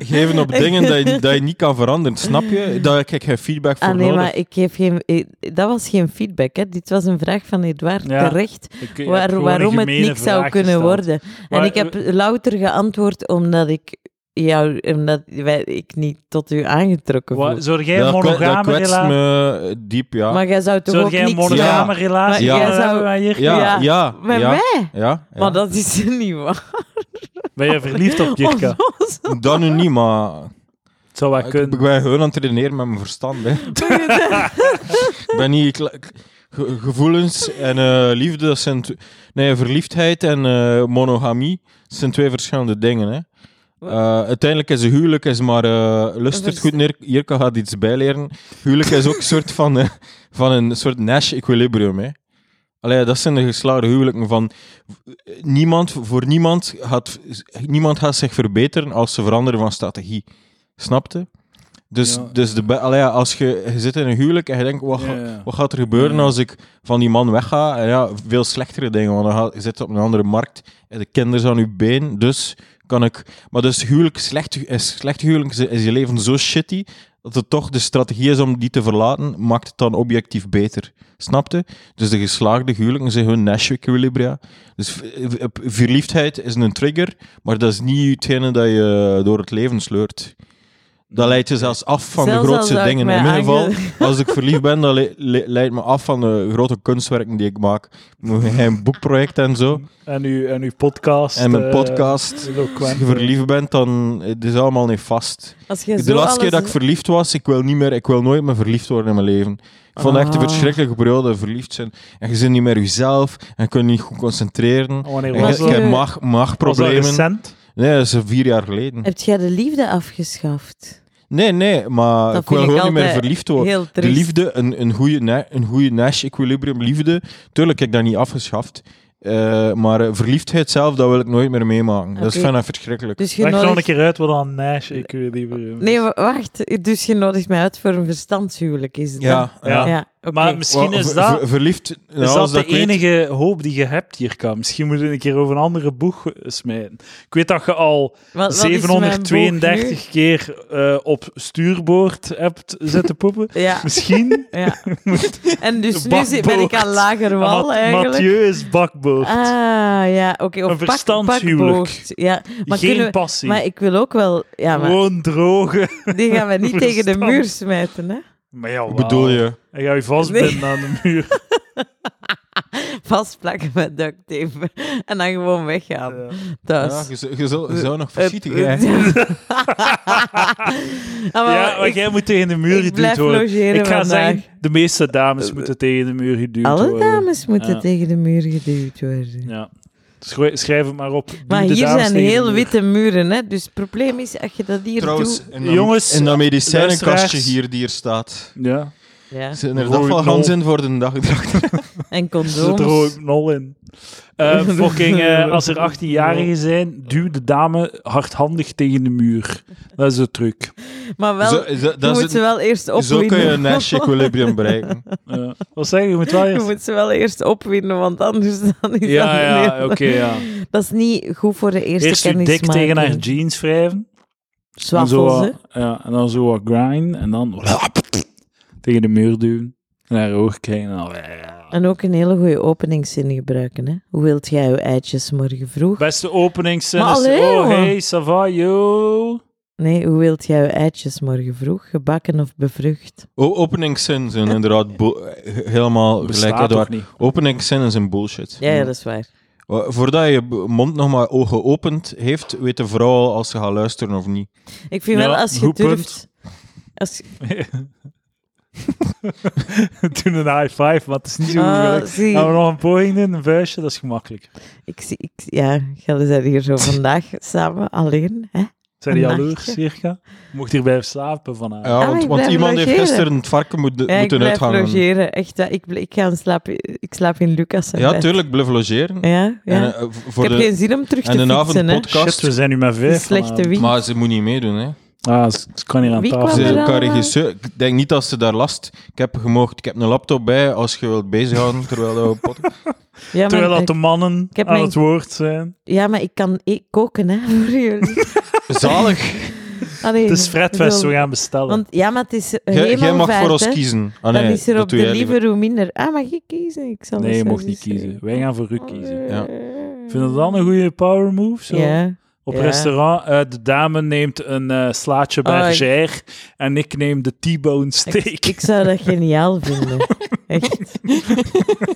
geven *laughs* op dingen dat je, dat je niet kan veranderen. Snap je? Daar heb ik geen feedback voor Ah nee, nodig. maar ik geef geen... eh, Dat was geen feedback, hè. Dit was een vraag van Edouard Ja. terecht. Ik- ik heb waar, gewoon waarom een het gemene niks zou vraag eh, kunnen gesteld. worden. Maar- en ik heb louter geantwoord omdat ik jou, omdat wij, ik niet tot u aangetrokken voel. Wat, zou jij een dat, kwe- dat monogame kwetst relatie... me diep, ja. Maar jij zou toch Zou ook jij een niks... Ja. monogame relatie Ja. hebben Jij zou- wij hier? ja, ja. ja, ja, Met ja, mij? ja. Maar dat is *laughs* niet waar. Ben je verliefd op Jirka? Ons- ons- Dat nu niet, maar Het zou wel ik, ik kunnen. ben gewoon aan het redeneren met mijn verstand. Hè. ik ben niet... kla- ge- gevoelens en eh, liefde, dat zijn... tw- Nee, verliefdheid en eh, monogamie dat zijn twee verschillende dingen, hè. Eh, uiteindelijk is een huwelijk is maar eh lust het Vers- goed neer. Jirka gaat iets bijleren. Huwelijk is ook een soort van, eh, van een soort Nash-equilibrium. hè. Allee, dat zijn de geslaagde huwelijken van eh, niemand, voor niemand gaat, niemand gaat zich verbeteren als ze veranderen van strategie. Snapte? Dus, Ja. dus de, be- allee, als je, je zit in een huwelijk en je denkt, wat, ga- Ja, ja. wat gaat er gebeuren Ja. als ik van die man wegga? En ja, veel slechtere dingen, want dan ga, je zit op een andere markt en de kinderen aan je been, dus kan ik... Maar dus huwelijk, slecht, hu- is slecht huwelijk is- is je leven zo shitty, dat het toch de strategie is om die te verlaten, maakt het dan objectief beter. Snapte? Dus de geslaagde huwelijken zijn hun Nash equilibria. Dus v- v- verliefdheid is een trigger, maar dat is niet hetgene dat je door het leven sleurt. Dat leidt je zelfs af van Zelfs de al grootste zou ik dingen. mij In mijn geval, aange- *laughs* als ik verliefd ben, dat le- le- leidt me af van de grote kunstwerken die ik maak. Mijn geheim boekproject en zo. En, uw, en uw podcast. En mijn eh, podcast. Als eloquent, je verliefd bent, dan het is allemaal niet vast. Als jij De zo laatste keer dat alles- ik verliefd was, ik wil niet meer, ik wil nooit meer verliefd worden in mijn leven. Ik vond het echt een Ah. verschrikkelijke periode, verliefd zijn. En je bent niet meer jezelf, en je kunt niet goed concentreren. eh, Wanneer En Was was je, je dat? dat- hebt maag- Was dat maagproblemen. recent? Nee, dat is vier jaar geleden. Heb jij de liefde afgeschaft? Nee, nee, maar Dat ik wil vind ik gewoon niet meer altijd verliefd worden. Heel De triest. liefde, een, een goede na- een goede Nash-equilibrium liefde. Tuurlijk heb ik dat niet afgeschaft. Eh, maar eh, verliefdheid zelf, dat wil ik nooit meer meemaken. Dat is Oké. van verschrikkelijk. Dus je Leg gewoon een nodigt- keer uit wat dan Nash ik wil liever. Nee, wa- wacht. Dus je nodigt mij uit voor een verstandshuwelijk, is het ja, Dus dan? Ja. ja oké. Maar misschien Wel, is ver- dat, ver- verliefd, nou, is als dat de ik weet- enige hoop die je hebt, Jirka. Misschien moeten we een keer over een andere boeg smijten. Ik weet dat je al Wat- wat is mijn boog 732 keer eh, op stuurboord hebt zitten *laughs* poepen. nu? Ja, Misschien. ja. en dus *laughs* De nu zit- ben ik bakboord. aan lager wal Mat- eigenlijk. Mathieu is bakboord. Ah, ja, oké. Of Een pak- verstandshuwelijk. pakboord. Ja, maar, Geen kunnen we- passie. maar ik wil ook wel... Ja, maar Gewoon *laughs* droge. die gaan we *laughs* niet tegen de verstand. muur smijten, hè. Maar ja, Wat bedoel je? En ga je vastbinden aan de muur. Vastplakken met duct tape. *laughs* En dan gewoon weggaan. Ja. Thuis. Ja, je, zou- je zou- je zou nog Eh, voorzichtig zijn. Ah, maar Ja, maar ik- jij moet tegen de muur ik geduwd blijf worden. logeren Ik ga vandaag. zeggen, de meeste dames moeten tegen de muur geduwd Alle worden. dames moeten Ja. tegen de muur geduwd worden. Ja. Schro- Schrijf het maar op. Duw Maar de hier dames zijn tegen de heel muur. witte muren, hè? dus het probleem is als je dat hier Trouwens, doet. in dat, Jongens, in dat eh, medicijnenkastje luisteraars. hier die hier staat. Ja, Ja, Zijn er Rood dat wel nul. gans in voor de dagdracht? en er zit er condooms. ook nul in. Eh, *laughs* fucking, eh, als er 18-jarigen zijn, duw de dame hardhandig tegen de muur. Dat is de truc. Maar wel, *laughs* Zo- is dat- je dat is moet ze een- wel eerst zo opwinden. kun je een Nash-equilibrium *laughs* bereiken. Eh, wat zeg je? Je moet wel Je eerst- *laughs* moet ze wel eerst opwinden, want anders *laughs* dan is dat Ja, een ja, heel- oké, ja. *laughs* Dat is niet goed voor de eerste Eerst je kennis dik maken. tegen haar jeans wrijven. En Zwaffels, zo, hè. wat- ja, en dan zo wat grind en dan tegen de muur duwen. En haar oog krijgen. En dan, En ook een hele goede openingszin gebruiken, hè. Hoe wilt jij je eitjes morgen vroeg? Beste openingszin Maar is... allee, oh, jongen. hey, ça va, yo. Nee, hoe wilt jij je eitjes morgen vroeg? Gebakken of bevrucht? O- Openingszin zijn inderdaad bo- eh, helemaal gelijk. Bestaat toch Edouard. niet? Openingszinnen zijn bullshit. Ja, ja, dat is waar. Wa- Voordat je b- mond nog maar o- geopend heeft, weet de vrouw al als ze gaat luisteren of niet. Ik vind Ja, wel, als je goed punt. durft... Als, *laughs* Toen een high five, maar het is niet zo goed Ah, gelukt. zie. Gaan we nog een poging doen, een vuistje, dat is gemakkelijk. Ik zie, ik, ja, jullie zijn hier *laughs* zo vandaag samen, alleen. Hè? Zijn die Een jaloers, nachtje. Circa? Mocht hier blijven slapen eh, vanavond. Ja, Ah, want, ik want blijf iemand heeft logeren. gisteren het varken moet, Ja, ik moeten blijf uithangen. logeren, echt. hè. Ik, bl- ik, ga slapen, ik slaap in Lucas. zijn Ja, bed. tuurlijk, blijf logeren. Ja, ja. En, eh, v- voor ik heb de, geen zin om terug te en een fietsen, hè. Shit, avondpodcast. we zijn nu met Die vijf. slechte vanavond. wieg. Maar ze moet niet meedoen, hè. Ah, ze, ze kan hier aan Wie tafel kwam Ze er zitten. dan? kan regisseur. Ik denk niet dat ze daar last... Ik heb, gemoogd, ik heb een laptop bij als je wilt bezighouden *laughs* terwijl dat we podcast... Ja, maar, Terwijl dat ik- de mannen heb aan mijn- het woord zijn. ja, maar ik kan e- koken, hè, *laughs* voor jullie. Zalig! Allee, Het is Fredfest, zo. we gaan bestellen. Want, ja, maar het is eh, Jij- Jij helemaal mag voor vaart, ons hè. kiezen. Ah, Dan nee, is er dat op doe de jij liever. lieve hoe minder. Ah, mag ik kiezen? Ik zal nee, eens je aan mocht ze niet zeggen. kiezen. Wij gaan voor u kiezen. Ja. Vinden we dat een goede power move? Zo? Oh. Ja. op Ja. restaurant. Eh, de dame neemt een eh, slaatje Oh, ik- bergère en ik neem de T-bone steak. Ik, ik zou dat geniaal *laughs* vinden. Echt.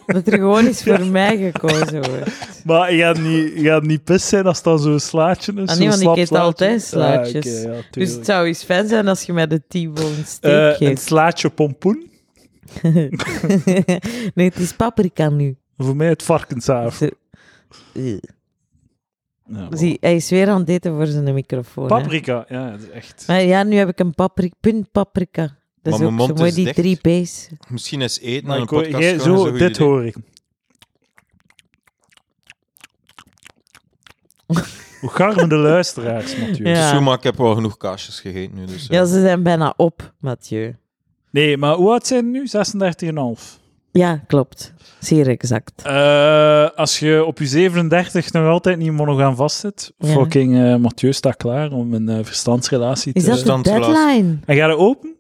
Dat er gewoon iets voor mij gekozen *laughs* wordt. Maar je gaat niet, je gaat niet pis zijn als het dan zo'n slaatje is. Ah, nee, want ik zo'n slap eet slaatje. altijd slaatjes. Ah, oké, ja, Dus tuurlijk. het zou eens fijn zijn als je mij de T-bone steak Eh, een geeft. *laughs* slaatje pompoen. nee, het is paprika nu. Voor mij het varkenshaaf. Ze- Oh. Eh. Ja, Zie, hij is weer aan het eten voor zijn microfoon. hè. Paprika, ja, dat is echt. Maar ja, nu heb ik een papri- punt paprika. Dat is ook Maar mijn zo mond mooi, is die dicht. drie P's. Misschien is eten Maar aan een ik hoor- podcast jij- gewoon een zo, goed dit idee. *laughs* hoor ik. Hoe garmen de luisteraars, Mathieu. Ja. Dus zo, maar ik heb wel genoeg kaasjes gegeten nu. Dus, eh. Ja, ze zijn bijna op, Mathieu. Nee, maar hoe oud zijn ze nu? 36,5. Ja, klopt. Zeer exact. Eh, als je op je 37 nog altijd niet monogaam vastzit, Ja. fucking eh, Mathieu staat klaar om een eh, verstandsrelatie Is te... dat de Verstandsrelatie. deadline? En gaat het open?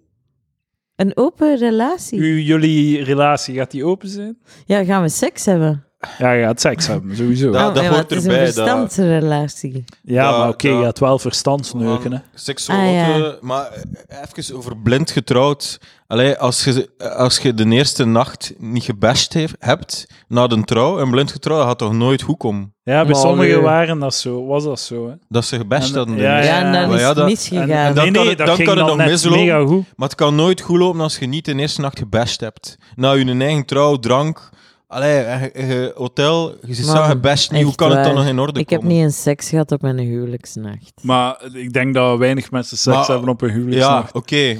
Een open relatie? U- jullie relatie, gaat die open zijn? Ja, gaan we seks hebben? Oh, Ja, je gaat seks hebben, sowieso. Ja, Ja, dat ja, hoort maar het is een erbij, dat- verstandsrelatie. Ja, maar oké, ja. je gaat wel verstandsneuken, hè. Seksueel, Ah, ja. eh, maar eh, even over blind getrouwd. Allee, als je, als je de eerste nacht niet gebashed heeft, hebt na de trouw, en blind getrouwd, dat gaat toch nooit goed komen? Ja, bij Maar sommigen allee. waren dat zo, was dat zo, hè. Dat ze gebashed En- hadden. de ja, Ja, eerste. en dan Maar is Ah, ja, het dat- misgegaan. En- Dan nee, kan nee, het- dat dan ging kan het dan nog net mislopen. mega goed. Maar het kan nooit goed lopen als je niet de eerste nacht gebashed hebt. Na je eigen trouw, drank, allee, eh, eh, eh, hotel, je zit zo Man, gebashed. niet. Hoe echt kan het dan waar. nog in orde Ik heb komen? niet een seks gehad op mijn huwelijksnacht. Maar ik denk dat weinig mensen seks Maar- hebben op een ja, huwelijksnacht. oké.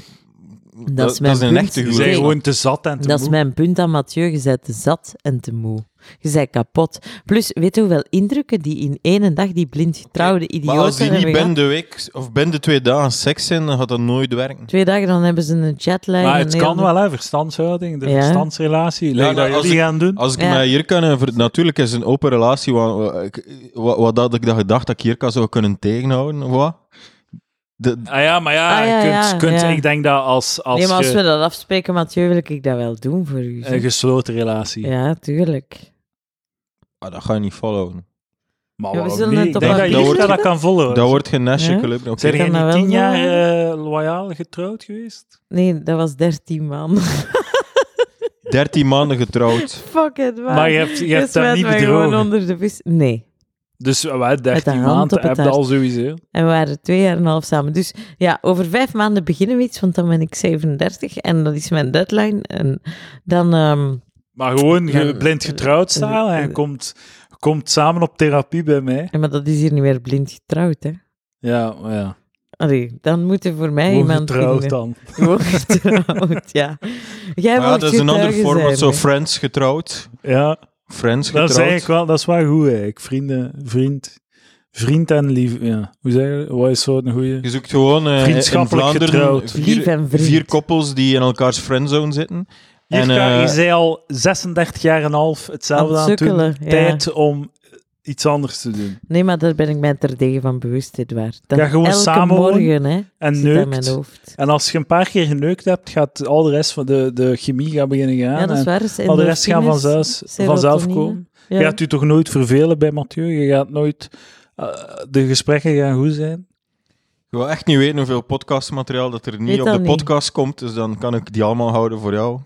is Dat, mijn een punt. echte Die Die zijn Nee. huwelijk. gewoon te zat en te Dat is moe. mijn punt aan Mathieu. Je bent te zat en te moe. Je bent kapot. Plus, weet je hoeveel indrukken die in één dag die blind getrouwde Maar idioten als die niet hebben gehad? binnen de week of binnen de twee dagen seks zijn, dan gaat dat nooit werken. Twee dagen, dan hebben ze een chatline. Maar en het heel kan de- wel, hè, verstandshouding, de Ja. verstandsrelatie. Lijkt Ja, nou, dat als jullie ik- gaan doen. Als ik Ja. mij hier kan... ver- Natuurlijk is een open relatie wat, wat, ik- wat, wat had ik dat gedacht dat ik hier kan zou kunnen tegenhouden. Of wat? De, Ah ja, maar ja, Ah ja, je kunt, ja, kunt, ja. ik denk dat als, als, nee, maar als je we dat afspreken, Mathieu, wil ik dat wel doen voor u. een gesloten relatie. Ja, tuurlijk. ah, dat ga je niet volhouden. Maar Ja, we waarom zullen niet? het Ik op denk dat papier jullie dat, zetten. kan volgen. Dat wordt geen nestje Ja? gelukt. Oké. Zijn Ik kan jullie dat wel tien jaar volgen. eh, loyaal getrouwd geweest? Nee, dat was 13 man. *laughs* 13 maanden getrouwd. Fuck it, man. Maar je hebt, je hebt hem smijt niet mij gewoon bedrogen. onder de vis. Nee. Dus eh, wat, 13 hand op maanden het heb je hart. al sowieso. En we waren twee jaar en een half samen. Dus ja, over vijf maanden beginnen we iets, want dan ben ik 37 en dat is mijn deadline. En dan, ehm, Maar gewoon ge- Dan- blind getrouwd eh, staan en je komt, komt samen op therapie bij mij. ja, maar dat is hier niet meer blind getrouwd, hè? Ja, oh maar ja. Allee, dan moet er voor mij Gewoon iemand getrouwd vinden. dan. Gewoon *laughs* getrouwd, ja. Jij Maar ja, mag dat is een ander getuige format. zijn, Zo hè. Friends getrouwd. Ja, Friends dat getrouwd. is eigenlijk wel, dat is wel goed eigenlijk. Vrienden, vriend, vriend en lief. Ja. Hoe zeg je, wat is zo'n goeie? Je zoekt gewoon eh, in Vriendschappelijk Vlaanderen getrouwd. Lief vier, en vriend. vier koppels die in elkaars friendzone zitten. En, eh, je zei al 36 jaar en een half hetzelfde Aan aan het het doen. sukkelen, ja. Tijd om iets anders te doen. Nee, maar daar ben ik mij terdege van bewust, Edouard. Dat Ja, gewoon elke samenwonen morgen, hè, En zit aan mijn neukt. hoofd. En als je een paar keer geneukt hebt, gaat al de rest van de, de chemie gaan beginnen gaan. Ja, dat is en waar. al de rest gaan endorfines, vanzelf, vanzelf serotonine. komen. Ja. Je gaat u toch nooit vervelen bij Mathieu? Je gaat nooit... eh, de gesprekken gaan goed zijn. Ik wil echt niet weten hoeveel podcastmateriaal dat er Weet niet op dat de niet. podcast komt, dus dan kan ik die allemaal houden voor jou.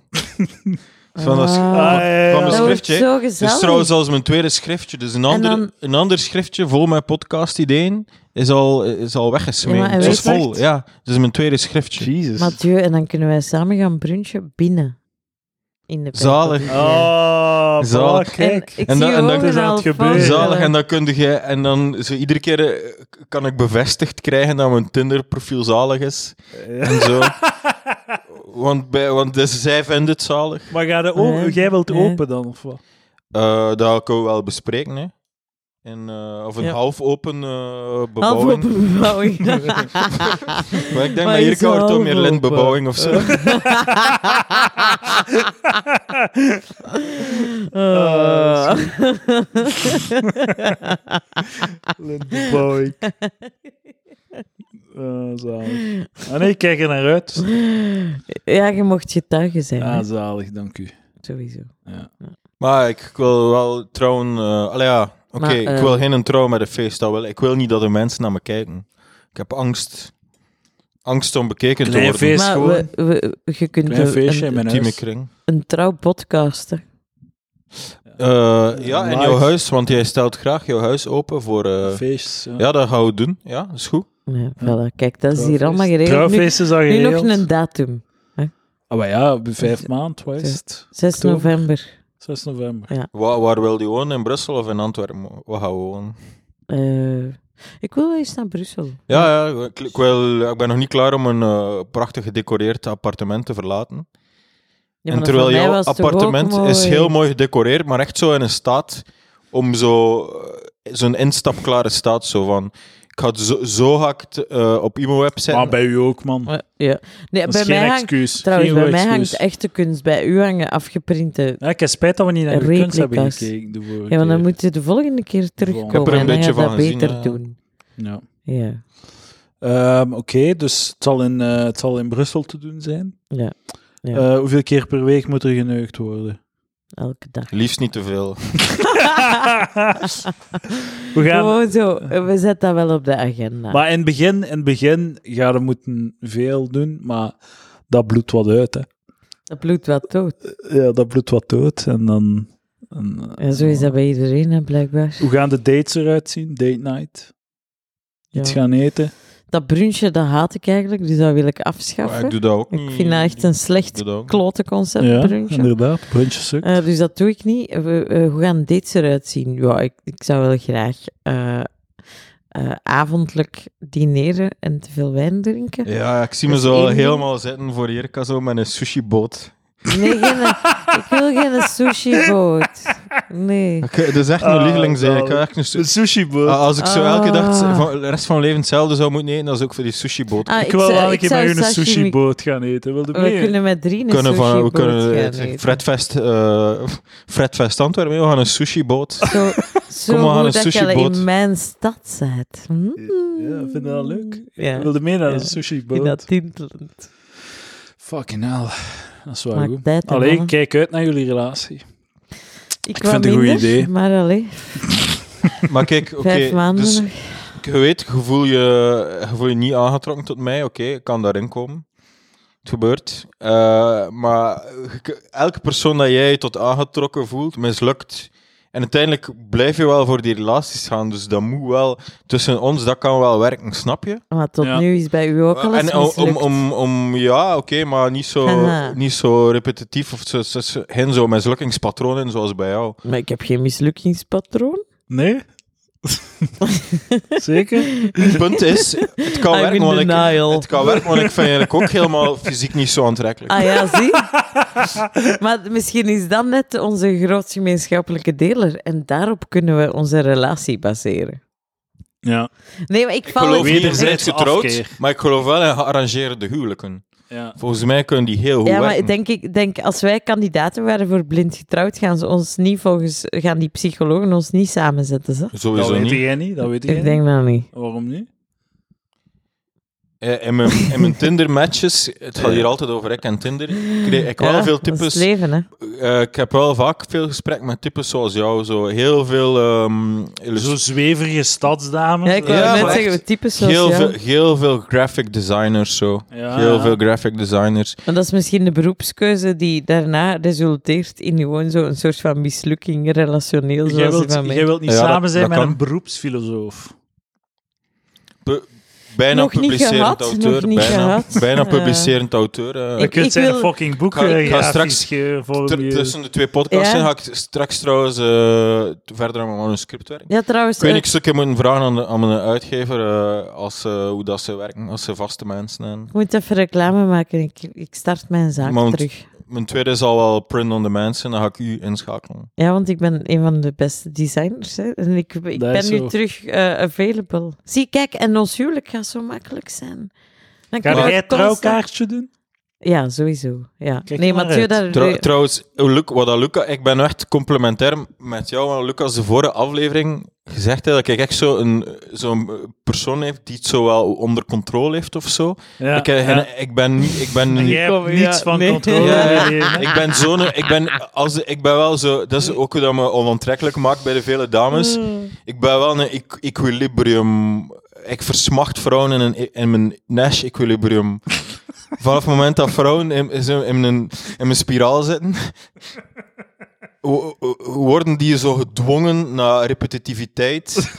Van dat, is- Ah. van- van mijn Dat wordt schriftje. hè. zo Het is gezellig. trouwens als mijn tweede schriftje, dus een ander, dan- een ander schriftje vol met podcast-ideeën is al, is al Ja, maar weggesmeed. en Het is weet je vol, echt? ja. Het is mijn tweede schriftje. Jezus. Mathieu, en dan kunnen wij samen gaan brunchen binnen. In de Zalig. België. Oh, voilà, Zalig. kijk. En ik En zie dan- je en dan ogen is dat al het gebeuren. vallen. Zalig, en dan kun je, en dan zo iedere keer eh, k- kan ik bevestigd krijgen dat mijn Tinder-profiel zalig is. En zo. *laughs* want, bij, want dus zij vinden het zalig. *laughs* Maar ga de Nee, open- jij wilt nee. open dan, of *laughs* wat? *laughs* Eh, dat kunnen we wel bespreken, hè. En, eh, of een Ja. half open eh Half bebouwing. op *laughs* bebouwing. Maar ik denk Maar dat hier is wel kan toch meer half lintbebouwing of zo. *laughs* Eh, Little boy. *laughs* Ah, zalig. Ah nee, ik kijk er naar uit. ja, je mocht getuige zijn. hè, Ah, zalig, dank u. Sowieso. Maar ik wil wel trouwen... eh allee ja, Oké, Maar, ik eh, wil geen trouw met een feest. Dat wil. Ik wil niet dat er mensen naar me kijken. Ik heb angst. Angst om bekeken te Klein worden. feest. Is maar gewoon- we, we- je kunt Klein een, feestje in een, mijn Intieme huis. kring. een trouw podcasten. Eh, ja, en Live. jouw huis, want jij stelt graag jouw huis open voor... eh, Feest. ja. ja, dat gaan we doen. Ja, dat is goed. Ja, voilà. Kijk, dat is hier allemaal geregeld. Trouwfeest. Nu, Trouwfeest is al nu geregeld. nog een datum. Ah, maar ja, bij vijf maand, wat is het? 6 Oktober. november. 6 november. Waar, waar wil je wonen? In Brussel of in Antwerpen? Waar gaan we wonen? Eh, ik wil wel eens naar Brussel. Ja, ja ik, ik wil, ik ben nog niet klaar om een eh, prachtig gedecoreerd appartement te verlaten. Ja, en maar terwijl voor mij jouw was het toch ook appartement mooi. is heel mooi gedecoreerd, maar echt zo in een staat om zo, eh, zo'n instapklare staat. Zo van, ik ga het zo, zo ga ik het, eh, op IMO-web zetten. Maar bij u ook, man. Maar- Ja. Nee, Dat bij is geen mij hangt, excuus. trouwens, geen bij goed mij hangt excuus. echt de kunst. Bij u hangen afgeprinte. Ja, ik heb spijt dat we niet naar de kunst hebben Replica's. gekeken. de vorige Ja, want dan eh, keer. moet je de volgende keer terugkomen. Ik heb er een en dan beetje ga je van dat gezien, beter ja. doen. Ja. Ja. Ehm, Oké, dus het zal, in, eh, het zal in Brussel te doen zijn. Ja. Ja. Eh, hoeveel keer per week moet er geneukt *laughs* worden? *laughs* Elke *laughs* dag. Liefst niet te veel. We gaan, Gewoon zo. We zetten dat wel op de agenda. maar in het begin, in het begin ja, we moeten veel doen, maar dat bloedt wat uit. Hè. Dat bloed wat dood. Ja, dat bloedt wat dood. En dan, en, eh, En zo is dat bij iedereen, hè, blijkbaar. Hoe gaan de dates eruit zien? Date night? Iets Ja. gaan eten? Dat brunchje, dat haat ik eigenlijk, dus dat wil ik afschaffen. Maar ik doe dat ook Ik niet. vind dat echt een slecht Ik doe dat ook klote concept, ja, brunchje. inderdaad. Brunchjes ook. Eh, dus dat doe ik niet. We, eh, hoe gaan dates eruit zien? Ja, ik, ik zou wel graag eh, eh, avondelijk dineren en te veel wijn drinken. niet. Ja, ik zie me Dat is zo één ding. helemaal zitten voor Jirka zo met een sushiboot. Nee, geen, *laughs* ik wil geen sushiboot. Nee. Ik- Dat is echt mijn Ah, lieveling. Ik zalig. heb echt een su- sushi boot. Ah, als ik zo Ah. elke dag z- van, de rest van mijn leven hetzelfde zou moeten eten, dan is ook voor die sushiboot. Ah, ik, wil zou- wel een ik keer zou met u een sashimi- Oh, sushi boot gaan eten. Wilde We kunnen met drie een We kunnen, van, we sushiboot kunnen gaan het eten. Fredfest, eh, Fredfest Antwerpen, we gaan een *laughs* sushiboot. Zo, zo Kom, we goed gaan een dat je al sushiboot. in mijn stad zit. Hm? Ja, vind je dat leuk? Ja. Wilde mee naar Ja. een sushi In boot. dat tintelend. Fucking hell. Dat is wel Maakt goed. tijd, hè, Allee, mannen. kijk uit naar jullie relatie. Ik, vind wou het een goed minder, idee. Maar allee, Maar kijk, oké, vijf maanden dus nog. je weet, je voelt je, je voelt je niet aangetrokken tot mij, oké, ik kan daarin komen. Het gebeurt. Eh, maar je- elke persoon dat jij je tot aangetrokken voelt, mislukt. En uiteindelijk blijf je wel voor die relaties gaan, dus dat moet wel tussen ons, dat kan wel werken, snap je? Maar tot Ja. nu is bij u ook al eens En om, om, mislukt. om, om- ja, oké, maar niet zo, Haha. niet zo repetitief of zo, zo, zo- geen zo mislukkingspatroon in zoals bij jou. Maar ik heb geen mislukkingspatroon. *laughs* Nee? Zeker? Het punt is, het kan I'm werken, in want ik, denial. het kan werken, want ik vind eigenlijk ook helemaal fysiek niet zo aantrekkelijk. Ah ja, zie. *laughs* maar misschien is dat net onze groot gemeenschappelijke deler. En daarop kunnen we onze relatie baseren. Ja. Nee, maar ik ik val... geloof het- Wederzijdse wederzijds getrouwd, afkeer. maar ik geloof wel in gearrangeerde huwelijken. ja. Volgens mij kunnen die heel goed Ja, maar werken. ik denk, ik denk, als wij kandidaten waren voor blind getrouwd, gaan ze ons niet volgens... Gaan die psychologen ons niet samenzetten, ze? Dat Sowieso weet niet. jij niet. Dat weet jij Ik denk dat niet. niet. Waarom niet? Eh, In mijn, in mijn Tinder-matches, het gaat hier altijd over ik en Tinder, ik kreeg ik wel Ja, veel dat is types... het leven, hè. Eh, ik heb wel vaak veel gesprek met types zoals jou. Zo heel veel ehm illus- Zo zweverige stadsdames. Ja, ik wou Ja, net eh, maar zeggen, echt. we typen zoals heel, jou. Ah. veel, heel veel graphic designers. Zo. Ja, heel ja. veel graphic designers. Maar dat is misschien de beroepskeuze die daarna resulteert in gewoon zo'n soort van mislukking, relationeel, Jij zoals wilt, die van mij. jij wilt niet Ja, dat- samen zijn dat met kan. een beroepsfilosoof. Pu- bijna Nog niet publicerend gehad, auteur. nog niet bijna, gehad. *laughs* bijna Eh. publicerend auteur. eh. Je Ik- kunt ik zijn wil- fucking boek eh, Ik ga- ik ga grafisch straks ge- voor Ter- je- tussen de twee podcasts Ja. in ga ik straks trouwens eh, verder aan mijn manuscript werken. Ja, trouwens, Ik weet eh, niet, ik zou een keer moeten vragen aan, de- aan mijn uitgever eh, als, ze- hoe dat ze werken, als ze vaste mensen hebben. ik moet even reclame maken. Ik, ik start mijn zaak Maar want- terug. Mijn tweede zal wel print-on-demand zijn, dan ga ik u inschakelen. Ja, want ik ben een van de beste designers. Hè. En ik, ik Dat ben is nu zo. terug eh, available. Zie, kijk, en ons huwelijk gaat zo makkelijk zijn. Dan Kan kunnen we jij het constant- trouwkaartje doen? Ja, sowieso. Ja. Kijk nee, maar Mathieu, uit. daar... Trou- trouwens, Luc, wat dat Luca, ik ben echt complementair met jou, want Lucas, de vorige aflevering Je zegt hè, dat ik echt zo'n zo'n persoon heb die het zo wel onder controle heeft of zo. Ja, ik, eh, ja. ik ben niet... Ik ben *laughs* niet Jij hebt Kom, ja, niets van nee. controle. Ja, ja. Nee. ik ben zo'n... Ik ben, als, ik ben wel zo... Dat is ook hoe dat me onontrekkelijk maakt bij de vele dames. Mm. Ik ben wel een equ- equilibrium... Ik versmacht vrouwen in, een, in mijn Nash-equilibrium. Vanaf het moment dat vrouwen in, in, zo'n- in, een, in mijn spiraal zitten... wo- wo- Worden die zo gedwongen naar repetitiviteit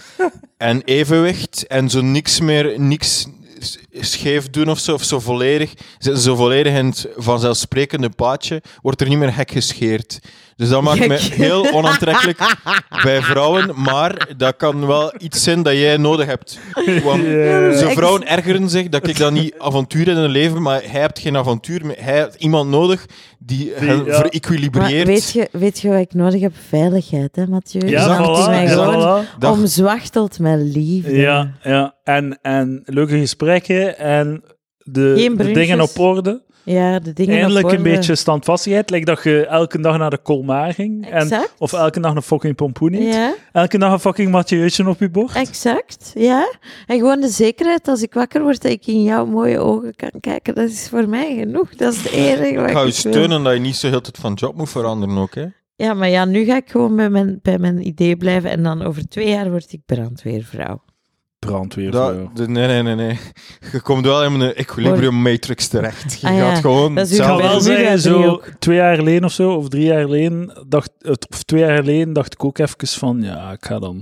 en evenwicht en zo niks meer, niks s- scheef doen of zo, of zo volledig, zitten ze volledig in het vanzelfsprekende paadje, wordt er niet meer hek gescheerd. Dus dat maakt me Gek. heel onaantrekkelijk bij vrouwen, maar dat kan wel iets zijn dat jij nodig hebt. Want Ja. zo Ik- vrouwen ergeren zich dat ik dan niet *laughs* avontuur in hun leven, maar hij hebt geen avontuur meer. Hij heeft iemand nodig die hen ja. Maar verequilibreert. weet, je, weet je wat ik nodig heb? Veiligheid, hè, Mathieu? Ja, Je Exact. laat voilà, mij ja, gewoon voilà. Dat- omzwachteld met liefde. Ja, ja. En, en leuke gesprekken en de, Geen de brunches. dingen op orde. Ja, de dingen op Eindelijk een orde. beetje standvastigheid. Lijkt dat je elke dag naar de Colmar ging. En, Exact. of elke dag een fucking pompoen eet. Ja, Elke dag een fucking Mathieu'tje op je bord. exact. Ja. En gewoon de zekerheid als ik wakker word dat ik in jouw mooie ogen kan kijken, dat is voor mij genoeg. Dat is het enige wat Ik ga je wil. steunen dat je niet zo heel de tijd van job moet veranderen ook, hè. Ja, maar ja, nu ga ik gewoon bij mijn, bij mijn idee blijven en dan over twee jaar word ik brandweervrouw. Brandweer. Dat- voor jou. de- nee, nee, nee, nee. Je komt wel in een equilibrium matrix terecht. Je Ah, ja. gaat gewoon... Dat is uw Ik ga hetzelfde Bermuda wel doen. zeggen, zo driehoek. twee jaar geleden of zo, of drie jaar geleden, dacht, het- of twee jaar geleden dacht ik ook even van, ja, ik ga dan